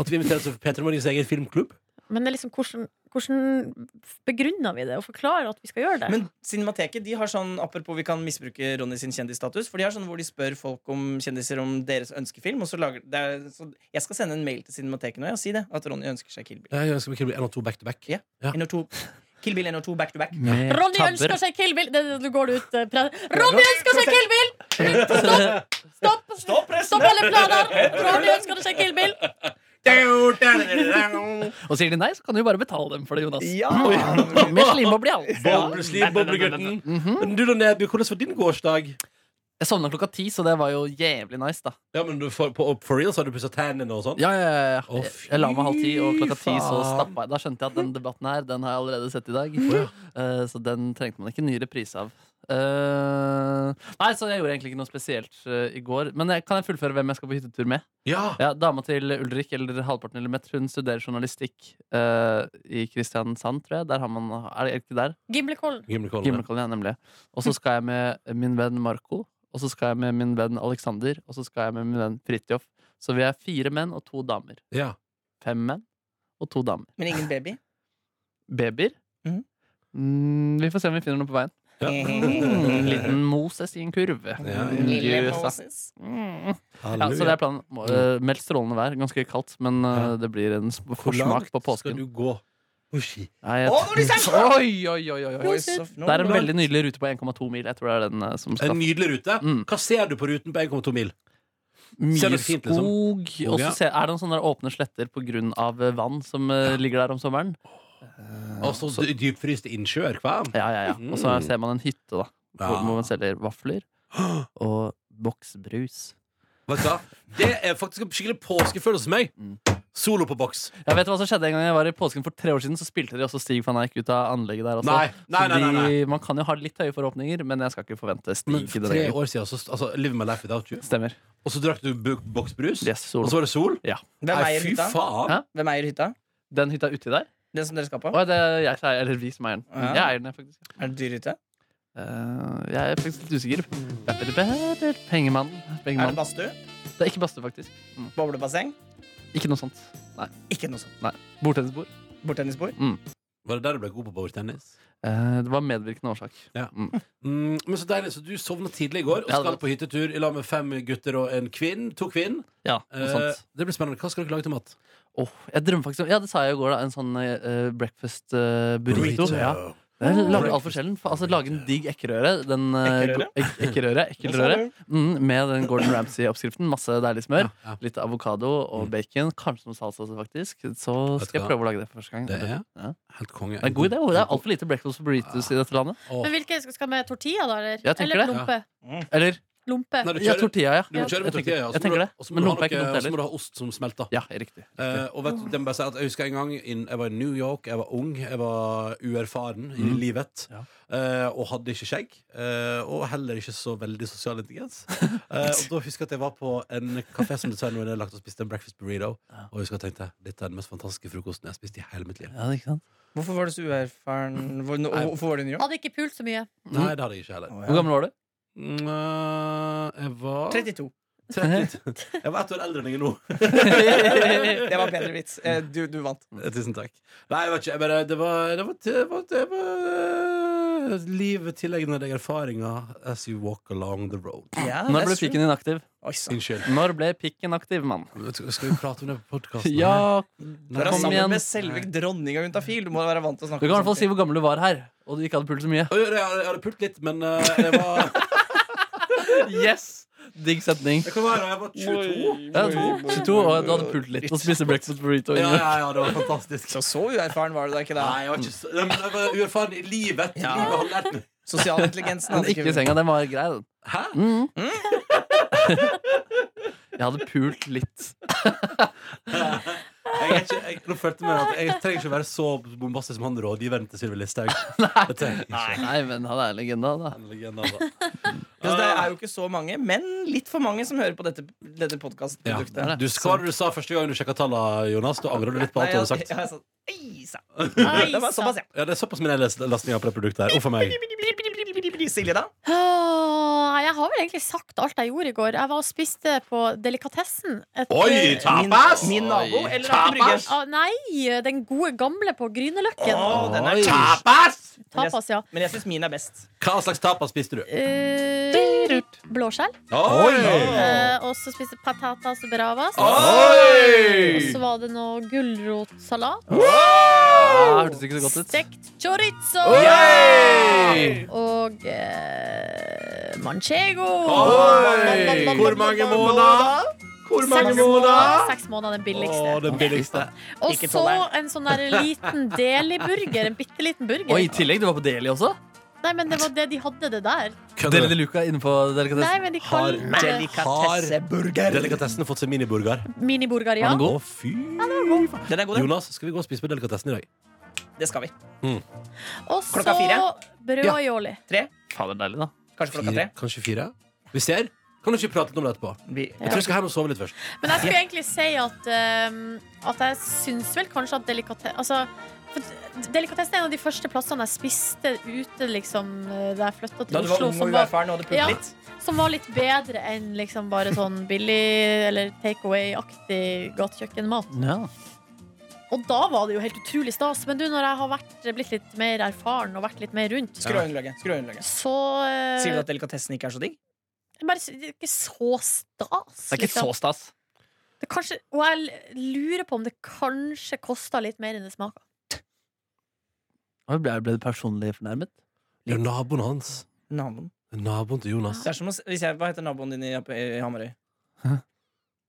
[SPEAKER 2] At vi inviterer til P3 Morgens egen filmklubb?
[SPEAKER 5] Men det er liksom hvordan, hvordan begrunner vi det og forklarer at vi skal gjøre det?
[SPEAKER 4] Men Cinemateket de har sånn Apropos vi kan misbruke Ronny sin kjendisstatus. For de har sånn hvor de spør folk om kjendiser om deres ønskefilm. Og så lager, det er, så jeg skal sende en mail til Cinemateket nå ja, og si det. At Ronny ønsker seg Kill Bill.
[SPEAKER 2] Jeg ønsker meg Kill Bill 1 og 2 back to back.
[SPEAKER 4] Ja.
[SPEAKER 2] Ja.
[SPEAKER 4] En og to, Kill Bill 1 og 2 back to back.
[SPEAKER 3] Med
[SPEAKER 5] Ronny
[SPEAKER 3] tabber.
[SPEAKER 5] ønsker seg Kill Bill! Det, det, du går ut, eh, pre- Ronny ønsker seg Kill Bill! Stopp! Stopp,
[SPEAKER 4] Stopp pressen!
[SPEAKER 5] stopp alle planer! Ronny ønsker seg Kill Bill!
[SPEAKER 3] Og sier de nei, så kan du jo bare betale dem for det, Jonas.
[SPEAKER 4] Ja!
[SPEAKER 3] Med slimboble i alt.
[SPEAKER 2] Boblesliv, boblegutten. Men du da, Neby, hvordan var din gårsdag?
[SPEAKER 3] Jeg sovna klokka ti, så det var jo jævlig nice, da.
[SPEAKER 2] Ja, men du, for, på, for real så har du pussa tennene og sånn?
[SPEAKER 3] Ja, ja, ja,
[SPEAKER 2] Å,
[SPEAKER 3] ja. Jeg,
[SPEAKER 2] fy
[SPEAKER 3] jeg la meg halv ti, og klokka ti så
[SPEAKER 2] faen.
[SPEAKER 3] stappa jeg. Da skjønte jeg at den debatten her, den har jeg allerede sett i dag. Eh, så den trengte man ikke en ny reprise av. Eh, nei, så jeg gjorde egentlig ikke noe spesielt eh, i går. Men jeg, kan jeg fullføre hvem jeg skal på hyttetur med?
[SPEAKER 2] Ja.
[SPEAKER 3] Ja, Dama til Ulrik, eller halvparten eller Mett, hun studerer journalistikk eh, i Kristiansand, tror jeg. Der har man Er det ikke der?
[SPEAKER 5] Gimlekollen.
[SPEAKER 2] Gimlekollen, ja.
[SPEAKER 3] Gimlekollen, ja, nemlig. Og så skal jeg med min venn Marco, og så skal jeg med min venn Alexander, og så skal jeg med min venn Fridtjof. Så vi er fire menn og to damer.
[SPEAKER 2] Ja.
[SPEAKER 3] Fem menn og to damer.
[SPEAKER 4] Men ingen baby.
[SPEAKER 3] Babyer.
[SPEAKER 4] Mhm.
[SPEAKER 3] Mm, vi får se om vi finner noe på veien.
[SPEAKER 2] Ja.
[SPEAKER 3] En liten Moses i en kurve. Mm,
[SPEAKER 2] Ja, ja.
[SPEAKER 4] Mm. Lille
[SPEAKER 3] Jøsa.
[SPEAKER 4] Moses.
[SPEAKER 3] Mm. Ja, så det
[SPEAKER 2] Halleluja.
[SPEAKER 3] er planen. Må- eh, Meldt strålende vær. Ganske kaldt, men eh,
[SPEAKER 2] Ja.
[SPEAKER 3] det blir en sp-
[SPEAKER 2] Hvor langt
[SPEAKER 3] forsmak på
[SPEAKER 2] Skal
[SPEAKER 3] påsken.
[SPEAKER 2] du gå på ski?
[SPEAKER 3] Nei, jeg-
[SPEAKER 4] Å, nå blir det sant!
[SPEAKER 3] Oi, oi, oi, oi, oi.
[SPEAKER 4] Boys of
[SPEAKER 3] Det er en
[SPEAKER 4] Norway.
[SPEAKER 3] veldig nydelig rute på 1,2 mil. Jeg tror det er den eh, som
[SPEAKER 2] En
[SPEAKER 3] skal
[SPEAKER 2] nydelig rute.
[SPEAKER 3] Mm.
[SPEAKER 2] Hva ser du på ruten på 1,2 mil? Ser
[SPEAKER 3] Mye
[SPEAKER 2] det fint, liksom.
[SPEAKER 3] skog.
[SPEAKER 2] Og
[SPEAKER 3] Og
[SPEAKER 2] ja.
[SPEAKER 3] så ser- er det noen sånne der åpne sletter på grunn av eh, vann som eh, ligger der om sommeren.
[SPEAKER 2] Og så dy- dypfryste innsjøer, hva?
[SPEAKER 3] Ja, ja, ja. Og så
[SPEAKER 2] Mm.
[SPEAKER 3] ser man en hytte, da. Hvor hvor man selger vafler og boksbrus.
[SPEAKER 2] Vet du hva? Det er faktisk en skikkelig påskefølelse hos meg.
[SPEAKER 3] Mm.
[SPEAKER 2] Solo på boks.
[SPEAKER 3] Jeg vet hva som skjedde en gang jeg var i påsken for tre år siden. Så spilte de også Stig van Eijk ut av anlegget der også.
[SPEAKER 2] Nei, nei,
[SPEAKER 3] Så
[SPEAKER 2] nei, nei, nei.
[SPEAKER 3] De, man kan jo ha litt høye forhåpninger, men jeg skal ikke forvente Stig
[SPEAKER 2] Men
[SPEAKER 3] i
[SPEAKER 2] for
[SPEAKER 3] det
[SPEAKER 2] tre
[SPEAKER 3] lenger.
[SPEAKER 2] år siden, så, altså, Live my life without you.
[SPEAKER 3] Stemmer.
[SPEAKER 2] Og så drakk du bu- boksbrus,
[SPEAKER 3] Yes,
[SPEAKER 2] og
[SPEAKER 3] solo.
[SPEAKER 2] så var det sol.
[SPEAKER 4] Hvem
[SPEAKER 2] Nei,
[SPEAKER 4] eier
[SPEAKER 2] fy
[SPEAKER 4] hytta?
[SPEAKER 2] faen!
[SPEAKER 3] Hæ?
[SPEAKER 4] Hvem eier hytta?
[SPEAKER 3] Den hytta uti der?
[SPEAKER 4] Den som dere skal på?
[SPEAKER 3] Å, det er jeg som eier, eller vi som eier den.
[SPEAKER 4] Ja.
[SPEAKER 3] Jeg eier den, jeg, faktisk.
[SPEAKER 4] Er det dyr hytte?
[SPEAKER 3] Eh, jeg er faktisk litt usikker. Pengemannen.
[SPEAKER 4] Er det
[SPEAKER 3] Pengemannen.
[SPEAKER 4] badstue?
[SPEAKER 3] Det er ikke badstue, faktisk. Mm.
[SPEAKER 4] Boblebasseng?
[SPEAKER 3] Ikke noe sånt. Nei.
[SPEAKER 4] Ikke noe sånt.
[SPEAKER 3] Bordtennisbord.
[SPEAKER 4] Bordtennisbord?
[SPEAKER 2] Var det der du ble god på bordtennis?
[SPEAKER 3] Eh, det var medvirkende årsak.
[SPEAKER 2] Mm, men så deilig, så du sovna tidlig i går og
[SPEAKER 3] Ja, det
[SPEAKER 2] skal
[SPEAKER 3] var-
[SPEAKER 2] på hyttetur i lag med fem gutter og en kvinn. To kvinn.
[SPEAKER 3] Ja, noe
[SPEAKER 2] Eh,
[SPEAKER 3] sånt.
[SPEAKER 2] det blir spennende. Hva skal dere lage til mat?
[SPEAKER 3] Åh, jeg drømmer faktisk om Ja, det sa jeg i går, da. En sånn eh, breakfast eh, burrito. Ja. Jeg lager alt for sjelden. For, altså, lage en digg ekkerøre. Den, eh,
[SPEAKER 4] Ekkerøre?
[SPEAKER 3] go- ek- Ekkerøre? Ekkelrøre. Mm, med den Gordon Ramsay-oppskriften. Masse deilig
[SPEAKER 2] Ja,
[SPEAKER 3] smør.
[SPEAKER 2] ja.
[SPEAKER 3] Litt avokado og bacon. Kanskje noe salsa også, faktisk. Så
[SPEAKER 2] Mm. Vet du
[SPEAKER 3] skal jeg
[SPEAKER 2] hva?
[SPEAKER 3] prøve å lage det for første gang.
[SPEAKER 2] Det er
[SPEAKER 3] Ja.
[SPEAKER 2] helt konge.
[SPEAKER 3] Det er en god idé. og Det er altfor lite breakfast burritos
[SPEAKER 2] Ah.
[SPEAKER 3] i dette landet.
[SPEAKER 2] Åh.
[SPEAKER 5] Men hvilke skal- skal med tortilla, da? Eller,
[SPEAKER 3] Jeg tenker
[SPEAKER 5] eller
[SPEAKER 3] det.
[SPEAKER 5] lompe?
[SPEAKER 3] Eller
[SPEAKER 5] lompe.
[SPEAKER 2] Nei, du
[SPEAKER 3] ja,
[SPEAKER 2] kjører-
[SPEAKER 3] tortilla, ja.
[SPEAKER 2] Du må
[SPEAKER 5] Ja.
[SPEAKER 2] kjøre med
[SPEAKER 3] Jeg tenker-
[SPEAKER 2] tortilla, ja.
[SPEAKER 3] jeg tenker det.
[SPEAKER 2] Og så må
[SPEAKER 3] Men
[SPEAKER 2] du ha
[SPEAKER 3] lompe er ikke
[SPEAKER 2] noe-
[SPEAKER 3] dumt
[SPEAKER 2] og så må
[SPEAKER 3] heller.
[SPEAKER 2] du ha ost som smelter.
[SPEAKER 3] Ja, riktig.
[SPEAKER 2] Eh, og vet du, det må jeg bare si at jeg husker en gang inn, Jeg var i New York, jeg var ung, jeg var uerfaren i
[SPEAKER 3] Mm.
[SPEAKER 2] livet.
[SPEAKER 3] Ja.
[SPEAKER 2] eh, og hadde ikke skjegg. eh, og heller ikke så veldig sosial intelligens. Eh, og da husker jeg at jeg var på en kafé som dessverre nå er nedlagt, og spiste en breakfast burrito.
[SPEAKER 3] Ja.
[SPEAKER 2] Og jeg husker jeg tenkte dette er den mest fantastiske frokosten jeg har spist i hele mitt liv.
[SPEAKER 3] Ja, det er ikke sant?
[SPEAKER 4] Hvorfor var du så uerfaren? Hvor- nå-
[SPEAKER 2] Nei.
[SPEAKER 4] Hvorfor var du ny?
[SPEAKER 5] Hadde ikke pult så mye.
[SPEAKER 2] Nei, det hadde jeg ikke heller.
[SPEAKER 4] Å,
[SPEAKER 3] Hvor
[SPEAKER 4] ja.
[SPEAKER 3] gammel var du?
[SPEAKER 2] Mm, jeg var
[SPEAKER 4] 32.
[SPEAKER 2] 30. Jeg var ett år eldre enn jeg er nå.
[SPEAKER 4] Det var bedre vits. Eh, Du, du vant.
[SPEAKER 2] Eh, Tusen takk. Nei, jeg vet ikke. Jeg bare, det var, det var, det var, det var eh, Livet tilegner deg erfaringer as you walk along the road.
[SPEAKER 4] Ja,
[SPEAKER 3] Når
[SPEAKER 4] that's
[SPEAKER 3] ble
[SPEAKER 4] true.
[SPEAKER 3] pikken din aktiv?
[SPEAKER 4] Oi, sann.
[SPEAKER 2] Unnskyld.
[SPEAKER 3] Når ble pikken aktiv, mann?
[SPEAKER 2] Skal skal vi prate om det på podkasten?
[SPEAKER 3] Ja,
[SPEAKER 4] Du er
[SPEAKER 3] Kom
[SPEAKER 4] sammen
[SPEAKER 3] igjen.
[SPEAKER 4] med selve dronninga Juntafil. Du må være vant til å
[SPEAKER 3] Du
[SPEAKER 4] snakke sånn
[SPEAKER 3] kan i hvert
[SPEAKER 4] om
[SPEAKER 3] fall si
[SPEAKER 4] sånne ting.
[SPEAKER 3] hvor gammel du var her, og du ikke hadde pult så mye.
[SPEAKER 2] Jeg hadde, jeg hadde pult litt, men eh, jeg var
[SPEAKER 3] Yes! Digg setning.
[SPEAKER 2] Jeg kan være, jeg var 22.
[SPEAKER 3] Ja, 22, og du hadde pult litt og spiste breakfast burrito.
[SPEAKER 2] Ja,
[SPEAKER 3] Ja,
[SPEAKER 2] ja, ja, det var fantastisk.
[SPEAKER 4] Så så uerfaren var du da ikke
[SPEAKER 2] Nei,
[SPEAKER 4] da?
[SPEAKER 2] jeg var ikke så Nei, men Jeg var uerfaren i livet.
[SPEAKER 4] Ja.
[SPEAKER 2] Livet har lært meg.
[SPEAKER 4] Sosial intelligensen
[SPEAKER 3] Men
[SPEAKER 4] hadde
[SPEAKER 3] ikke i
[SPEAKER 4] ikke
[SPEAKER 3] senga. Den var grei, den.
[SPEAKER 2] Hæ?
[SPEAKER 3] Mm. Jeg hadde pult litt.
[SPEAKER 2] Jeg er ikke, jeg, nå følte jeg meg at jeg trenger ikke å være så bombastisk som han rådgiveren til Sylvi Listhaug. Det trenger jeg ikke.
[SPEAKER 3] Nei, men han er en legende, han, da.
[SPEAKER 2] En legende, altså.
[SPEAKER 4] Altså, Det er jo ikke så mange, men litt for mange som hører på dette, dette
[SPEAKER 2] Ja.
[SPEAKER 4] podkastproduktet.
[SPEAKER 2] Du, hva var det du sa første gang du sjekka tallene, Jonas? Da angrer du litt på alt du hadde sagt.
[SPEAKER 4] jeg, sa- Ei, sa-
[SPEAKER 5] Nei,
[SPEAKER 4] Det var såpass,
[SPEAKER 5] sant.
[SPEAKER 4] ja.
[SPEAKER 2] Ja, Det er såpass mine lastninger på det produktet her. Uff a meg.
[SPEAKER 4] Silje, da?
[SPEAKER 5] Åh, jeg har vel egentlig sagt alt jeg gjorde i går. Jeg var og spiste på Delikatessen. Et, eh,
[SPEAKER 2] Oi, ta-
[SPEAKER 4] Min,
[SPEAKER 2] Tapas!
[SPEAKER 4] min nabo
[SPEAKER 3] Oi.
[SPEAKER 4] eller Aker Brygge?
[SPEAKER 5] Ah, nei, den gode gamle på Grünerløkken.
[SPEAKER 4] Å, den er
[SPEAKER 2] Oi.
[SPEAKER 4] kjær.
[SPEAKER 2] Tapas!
[SPEAKER 5] Tapas, ja.
[SPEAKER 4] Men jeg syns min er best.
[SPEAKER 2] Hva slags tapas spiste du?
[SPEAKER 5] Eh, blåskjell.
[SPEAKER 2] Oi!
[SPEAKER 5] Eh, og så spiste patatas bravas. Og så var det noe gulrotsalat.
[SPEAKER 3] Ja, hørtes ikke så godt ut.
[SPEAKER 5] Stekt chorizo.
[SPEAKER 2] Oi!
[SPEAKER 5] Og eh, manchego.
[SPEAKER 2] Oi! Hvor mange måneder? Hvor mange
[SPEAKER 5] Seks måneder,
[SPEAKER 2] måneder?
[SPEAKER 5] seks måneder den
[SPEAKER 2] Å,
[SPEAKER 5] billigste.
[SPEAKER 2] den billigste.
[SPEAKER 5] Og
[SPEAKER 4] Ikke
[SPEAKER 5] så
[SPEAKER 4] tolleren.
[SPEAKER 5] en sånn der liten deli-burger. En bitte liten burger.
[SPEAKER 3] Og i tillegg, du var på Deli også?
[SPEAKER 5] Nei, men det var det de hadde, det der.
[SPEAKER 3] Deli de Luca innenfor
[SPEAKER 5] Nei,
[SPEAKER 3] delikatessen.
[SPEAKER 5] men de
[SPEAKER 2] Har
[SPEAKER 5] kaller det
[SPEAKER 4] Delikatesseburger.
[SPEAKER 2] Delikatessen har fått seg miniburger.
[SPEAKER 5] miniburger, ja.
[SPEAKER 3] Var den
[SPEAKER 2] Å,
[SPEAKER 3] god?
[SPEAKER 2] fy
[SPEAKER 4] Den er god, den.
[SPEAKER 2] Jonas, skal vi gå og spise på Delikatessen i dag?
[SPEAKER 4] Det skal vi.
[SPEAKER 5] Og så
[SPEAKER 4] Klokka fire.
[SPEAKER 5] brødaioli.
[SPEAKER 3] Fader, deilig, da.
[SPEAKER 4] Kanskje klokka tre.
[SPEAKER 2] Fire, kanskje fire? Vi ser. Kan du ikke prate litt om det etterpå?
[SPEAKER 4] Vi-
[SPEAKER 2] Jeg tror jeg skal hjem og sove litt først.
[SPEAKER 5] Men jeg skulle egentlig si at um, At jeg syns vel kanskje at delikate... Altså, for d- Delikatessen er en av de første plassene jeg spiste ute liksom, da jeg flytta til
[SPEAKER 4] Da du var
[SPEAKER 5] Oslo.
[SPEAKER 4] ung og
[SPEAKER 5] Som var,
[SPEAKER 4] uerfaren og hadde pult
[SPEAKER 5] Ja.
[SPEAKER 4] litt.
[SPEAKER 5] som var litt bedre enn liksom bare sånn billig eller takeaway-aktig gatekjøkkenmat.
[SPEAKER 3] Ja.
[SPEAKER 5] Og da var det jo helt utrolig stas. Men du, når jeg har vært, blitt litt mer erfaren og vært litt mer rundt,
[SPEAKER 4] Skrå underlaget. Skrå underlaget.
[SPEAKER 5] så eh,
[SPEAKER 4] Sier du at delikatessen ikke er så digg?
[SPEAKER 5] bare, sy- Det er ikke så stas. liksom.
[SPEAKER 3] Det er ikke så stas.
[SPEAKER 5] Det kanskje, og jeg l- lurer på om det kanskje kosta litt mer enn det smaka.
[SPEAKER 3] Oi, Ble, ble du personlig fornærmet?
[SPEAKER 2] Det er jo naboen hans.
[SPEAKER 4] Naboen.
[SPEAKER 2] Det er Naboen til Jonas.
[SPEAKER 4] Det er som å, s- hvis jeg, hva heter naboen din i, i Hamarøy?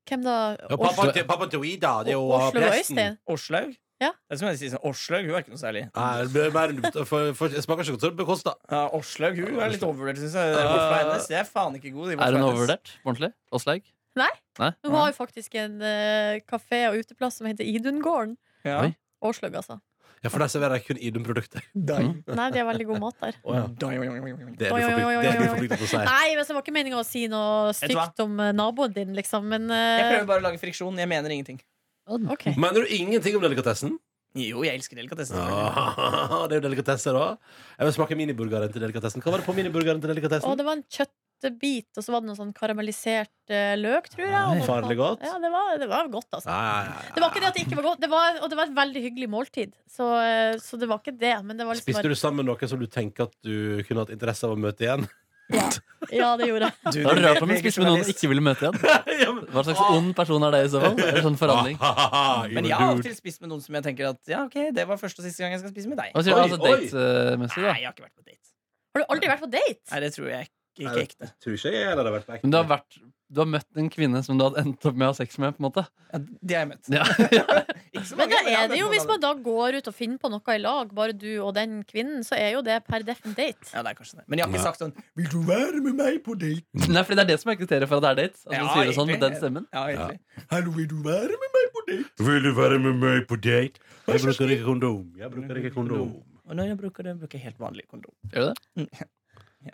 [SPEAKER 5] Hvem da?
[SPEAKER 2] Ja,
[SPEAKER 5] Oslo-
[SPEAKER 2] pappaen til, pappaen til Ida, det er jo uh,
[SPEAKER 5] Oslo og
[SPEAKER 2] presten.
[SPEAKER 5] Øystein?
[SPEAKER 4] Åslaug?
[SPEAKER 5] Ja.
[SPEAKER 4] Det er som om jeg sier sånn Åslaug, hun er ikke noe særlig.
[SPEAKER 2] Nei, det blir mer- for- for- Jeg smaker ikke godt, så det blir kosta.
[SPEAKER 4] Ja, Åslaug hun er litt overvurdert, syns jeg. Det er, bort fra hennes. det er faen ikke god. de bort fra
[SPEAKER 3] Er hun
[SPEAKER 4] hennes.
[SPEAKER 3] overvurdert? Ordentlig? Åslaug?
[SPEAKER 5] Hun har jo faktisk en eh, kafé og uteplass som heter Idungården.
[SPEAKER 4] Ja.
[SPEAKER 3] Oi.
[SPEAKER 5] Åsløg, altså.
[SPEAKER 2] Ja, for der serverer jeg kun Idun-produkter.
[SPEAKER 4] Dang.
[SPEAKER 5] Nei, de har veldig god mat der.
[SPEAKER 2] ja.
[SPEAKER 4] Dang, dang, dang, dang.
[SPEAKER 2] Det er
[SPEAKER 5] Oi,
[SPEAKER 2] du
[SPEAKER 5] oi,
[SPEAKER 2] forpliktet-
[SPEAKER 5] oi, oi,
[SPEAKER 2] det er du
[SPEAKER 5] oi, oi.
[SPEAKER 2] forpliktet til å si.
[SPEAKER 5] Nei, men så var ikke meninga å si noe
[SPEAKER 4] Vet du hva?
[SPEAKER 5] stygt om eh, naboen din, liksom. Men eh,
[SPEAKER 4] Jeg prøver bare å lage friksjon. Jeg mener ingenting.
[SPEAKER 5] OK.
[SPEAKER 2] Mener du ingenting om delikatessen?
[SPEAKER 4] Jo, jeg elsker delikatessen. selvfølgelig.
[SPEAKER 2] Ah, det er jo delikatesser òg. Jeg vil smake miniburgeren til delikatessen. Hva var det på miniburgeren til delikatessen?
[SPEAKER 5] Og det var en kjøttbit, og så var det noe sånn karamellisert eh, løk, tror jeg. og
[SPEAKER 2] Nei.
[SPEAKER 5] noe
[SPEAKER 2] Farlig
[SPEAKER 5] sånt.
[SPEAKER 2] godt.
[SPEAKER 5] Ja, det var, det var godt, altså.
[SPEAKER 2] Nei, nei, nei.
[SPEAKER 5] Det var ikke det at det ikke var godt, det var, og det var et veldig hyggelig måltid. Så, eh, så det var ikke det. Men det var liksom
[SPEAKER 2] Spiste du sammen med noen som du tenker at du kunne hatt interesse av å møte igjen?
[SPEAKER 5] bare, Ja, det gjorde jeg.
[SPEAKER 4] Du,
[SPEAKER 3] Da er det
[SPEAKER 4] du
[SPEAKER 3] rart om hun
[SPEAKER 4] vet ikke
[SPEAKER 3] spiser med noen hun
[SPEAKER 4] journalist.
[SPEAKER 3] ikke ville møte igjen.
[SPEAKER 2] ja, men-
[SPEAKER 3] Hva slags ond person er det i så fall? Er det sånn forandring?
[SPEAKER 2] Ah,
[SPEAKER 4] Men jeg har av og til spist med noen som jeg tenker at ja, ok, det var første og siste gang jeg skal spise med deg.
[SPEAKER 3] Hva sier du?
[SPEAKER 2] Oi,
[SPEAKER 3] Altså
[SPEAKER 2] oi.
[SPEAKER 3] date-messig,
[SPEAKER 4] Nei,
[SPEAKER 3] da.
[SPEAKER 4] jeg har ikke vært på date.
[SPEAKER 5] Har du aldri vært på date?
[SPEAKER 4] Nei, det tror jeg ikke,
[SPEAKER 2] Nei.
[SPEAKER 4] ikke ekte.
[SPEAKER 2] Tror ikke jeg heller har vært på
[SPEAKER 3] Men du har, vært, du har møtt en kvinne som du hadde endt opp med å ha sex med, på en måte?
[SPEAKER 4] Ja, de har jeg møtt.
[SPEAKER 3] Ja.
[SPEAKER 4] Ikke så
[SPEAKER 5] Men
[SPEAKER 4] mange,
[SPEAKER 5] da
[SPEAKER 4] jeg har
[SPEAKER 5] er det
[SPEAKER 4] møtt
[SPEAKER 5] jo,
[SPEAKER 4] noen
[SPEAKER 5] hvis
[SPEAKER 4] av
[SPEAKER 5] man
[SPEAKER 4] dem.
[SPEAKER 5] da går ut og finner på noe i lag, bare du og den kvinnen, så er jo det per defin date.
[SPEAKER 4] ja, det er kanskje det. Men jeg har ikke
[SPEAKER 2] Nei.
[SPEAKER 4] sagt sånn 'Vil du være med meg på date?'
[SPEAKER 3] Nei, fordi det er det som er kriteriet for at det er date. At du
[SPEAKER 4] Ja,
[SPEAKER 3] sier det sånn med
[SPEAKER 4] egentlig.
[SPEAKER 3] den stemmen.
[SPEAKER 4] Ja, egentlig.
[SPEAKER 2] Hallo, vil du være med meg på date? Vil du være med meg på date? Jeg bruker ikke kondom. Jeg bruker ikke kondom.
[SPEAKER 4] Og når jeg bruker det, bruker jeg helt vanlig kondom.
[SPEAKER 3] Gjør du det?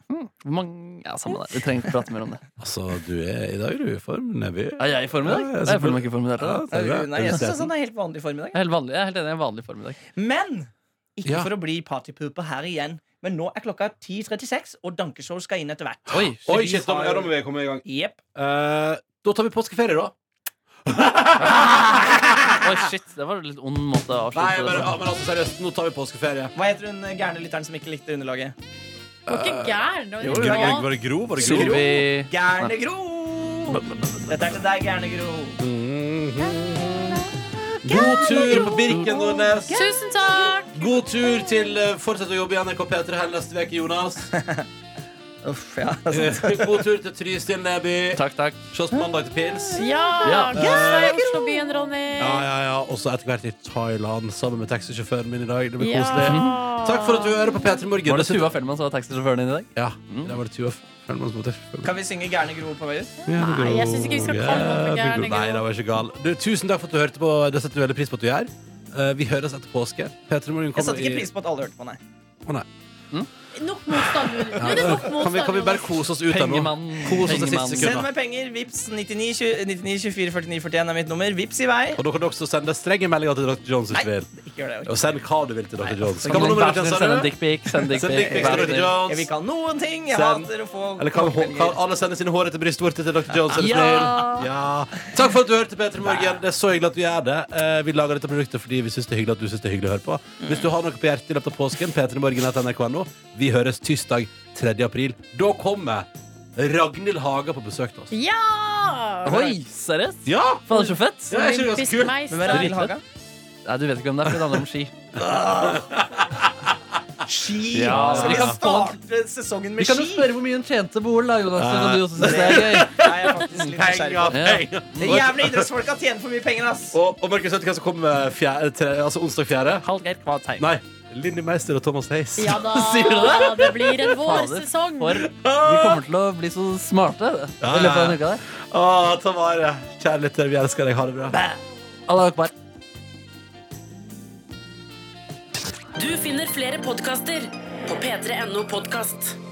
[SPEAKER 3] Mm. Hvor mange Ja, samme det. Vi trenger ikke prate mer om det.
[SPEAKER 2] Altså, du er i dag er du i form, Neby.
[SPEAKER 3] Er jeg i form i dag?
[SPEAKER 2] Ja, jeg
[SPEAKER 3] Nei, Jeg føler meg ikke i form i det hele tatt.
[SPEAKER 2] det er bra.
[SPEAKER 4] Nei, jeg
[SPEAKER 2] Er du
[SPEAKER 4] synes
[SPEAKER 2] sliten?
[SPEAKER 4] han er helt vanlig formiddag.
[SPEAKER 3] Jeg er helt vanlig, jeg er helt enig i en vanlig formiddag.
[SPEAKER 4] Men Ikke
[SPEAKER 2] Ja.
[SPEAKER 4] for å bli partypooper her igjen, men nå er klokka 10.36, og Dankeshow skal inn etter hvert.
[SPEAKER 3] Oi,
[SPEAKER 2] Oi,
[SPEAKER 3] shit.
[SPEAKER 2] shit, da må- ja, da må vi komme i gang.
[SPEAKER 4] Jepp.
[SPEAKER 2] Eh, da tar vi påskeferie, da.
[SPEAKER 3] Oi, shit. Det var en litt ond måte å
[SPEAKER 2] Nei,
[SPEAKER 3] avslutte
[SPEAKER 2] men,
[SPEAKER 3] det
[SPEAKER 2] ja,
[SPEAKER 3] på.
[SPEAKER 2] men altså, seriøst, nå tar vi påskeferie.
[SPEAKER 4] Hva heter hun eh, gærne lytteren som ikke likte underlaget?
[SPEAKER 5] Du var ikke gæren. det var
[SPEAKER 4] Jo,
[SPEAKER 5] ikke
[SPEAKER 4] jo,
[SPEAKER 5] noe
[SPEAKER 4] jeg
[SPEAKER 5] annet.
[SPEAKER 2] det Gro? Var
[SPEAKER 3] Sylvi
[SPEAKER 4] Gærne Gro! Dette er til deg, Gærne Gro.
[SPEAKER 2] God tur på Birken, Nordnes.
[SPEAKER 5] Tusen takk!
[SPEAKER 2] God tur til eh, Fortsett å jobbe i NRK P3 her neste uke, Jonas.
[SPEAKER 4] Uff, ja. altså.
[SPEAKER 2] Eh, God tur til Trysil Neby.
[SPEAKER 3] Takk, takk.
[SPEAKER 2] Ses på mandag til pils.
[SPEAKER 5] Ja!
[SPEAKER 3] Ja.
[SPEAKER 5] Kos deg i Oslobyen, Ronny.
[SPEAKER 2] Ja, ja, ja. Og så etter hvert i Thailand sammen med taxisjåføren min i dag. Det blir
[SPEAKER 5] Ja.
[SPEAKER 2] koselig. Takk for at du hører på P3 Morgen.
[SPEAKER 3] Var det
[SPEAKER 2] Dessuten-
[SPEAKER 3] Tuva Fellmann som var taxisjåføren din i dag?
[SPEAKER 2] Ja, det var det Tuva Fellmann som måtte
[SPEAKER 4] Kan vi synge Gærne Gro på vei ut?
[SPEAKER 5] Nei, jeg synes ikke vi skal kalle noen for gærne, Gro.
[SPEAKER 2] Nei, det var ikke gal. Du, tusen takk for at du hørte på. Det setter vi veldig pris på at du gjør. Eh, vi høres etter påske. P3 Morgen
[SPEAKER 4] Jeg
[SPEAKER 2] kommer
[SPEAKER 4] satte ikke
[SPEAKER 2] i-
[SPEAKER 4] pris på at alle hørte på, nei.
[SPEAKER 2] Å, nei.
[SPEAKER 5] Nok motstand. Ulrik. Nå er det nok
[SPEAKER 2] Kan vi,
[SPEAKER 5] motstand.
[SPEAKER 2] kan vi bare
[SPEAKER 5] Jonas.
[SPEAKER 2] kose oss ut her nå?
[SPEAKER 3] Pengemann.
[SPEAKER 2] Kos oss i siste
[SPEAKER 3] Pengemann.
[SPEAKER 2] sekund.
[SPEAKER 4] Send meg penger. Vips 99, 20, 99 24 49 41 er mitt nummer. Vips i vei.
[SPEAKER 2] Og da kan du også sende strenge meldinger til Dr. Jones hvis du
[SPEAKER 4] Nei,
[SPEAKER 2] vil.
[SPEAKER 4] ikke gjør det.
[SPEAKER 2] Og send hva du vil til Dr. Jones.
[SPEAKER 3] altså, Kan man
[SPEAKER 2] Hva
[SPEAKER 3] vær
[SPEAKER 2] er nummeret
[SPEAKER 3] så snill
[SPEAKER 2] ditt,
[SPEAKER 3] sende
[SPEAKER 2] sa
[SPEAKER 3] en
[SPEAKER 2] du?
[SPEAKER 3] dickpic? Send
[SPEAKER 2] Send
[SPEAKER 3] dickpic.
[SPEAKER 2] dickpics
[SPEAKER 3] vær
[SPEAKER 2] til
[SPEAKER 3] så
[SPEAKER 2] Dr.
[SPEAKER 3] snill.
[SPEAKER 4] Jeg vil
[SPEAKER 2] Jones.
[SPEAKER 4] ikke ha noen ting. Jeg
[SPEAKER 2] Send.
[SPEAKER 4] hater å få
[SPEAKER 2] Eller kan, kan
[SPEAKER 4] tilbakemeldinger.
[SPEAKER 2] alle sende sine hårete brystvorter til Dr. Jones? Er du
[SPEAKER 3] Ja.
[SPEAKER 2] snill? Ja. Takk for at du hørte, Peter Morgen. Det er så hyggelig at du gjør det. Eh, Vi lager dette produktet fordi vi syns det er hyggelig at du syns det er hyggelig å høre på. Hvis du har noe på hjertet i løpet av påsken, p3morgen.nrk.no. Vi høres tirsdag 3. april. Da kommer Ragnhild Haga på besøk til oss.
[SPEAKER 5] Ja!
[SPEAKER 3] Oi, seriøst?
[SPEAKER 2] Ja!
[SPEAKER 3] Fader, så fett.
[SPEAKER 2] Det er ikke ganske
[SPEAKER 5] Olympisk
[SPEAKER 2] kult.
[SPEAKER 4] Hvem er
[SPEAKER 5] meister.
[SPEAKER 4] Ragnhild Haga?
[SPEAKER 3] Nei, du vet ikke hvem det er, for det handler om ski.
[SPEAKER 4] Ski!
[SPEAKER 3] Ja.
[SPEAKER 4] Skal
[SPEAKER 3] Vi
[SPEAKER 4] vi
[SPEAKER 3] kan få-
[SPEAKER 4] starte sesongen
[SPEAKER 3] Vi
[SPEAKER 4] med
[SPEAKER 3] kan jo
[SPEAKER 4] ski?
[SPEAKER 3] spørre hvor mye hun tjente på OL, da, Jonas. Så kan du også synes det er gøy.
[SPEAKER 4] Nei, jeg er faktisk litt nysgjerrig på
[SPEAKER 2] Penger,
[SPEAKER 4] det.
[SPEAKER 2] penger.
[SPEAKER 4] Det jævla idrettsfolka tjener for mye penger, ass.
[SPEAKER 2] Og, og Markus, vet du hvem som kommer fjerde, tre, altså onsdag 4.?
[SPEAKER 3] Hallgeir Kvatheim.
[SPEAKER 2] Nei. Linni Meister og Thomas Hayes.
[SPEAKER 5] Ja da,
[SPEAKER 3] Sier du det?
[SPEAKER 5] det blir en
[SPEAKER 3] Fader,
[SPEAKER 5] vårsesong.
[SPEAKER 3] For vi kommer til å bli så smarte i løpet av den uka der.
[SPEAKER 2] Å, ta vare. Kjære lytter, vi elsker deg. Ha det bra.
[SPEAKER 3] Allah akbar.
[SPEAKER 1] Du finner flere podkaster på p3.no podkast.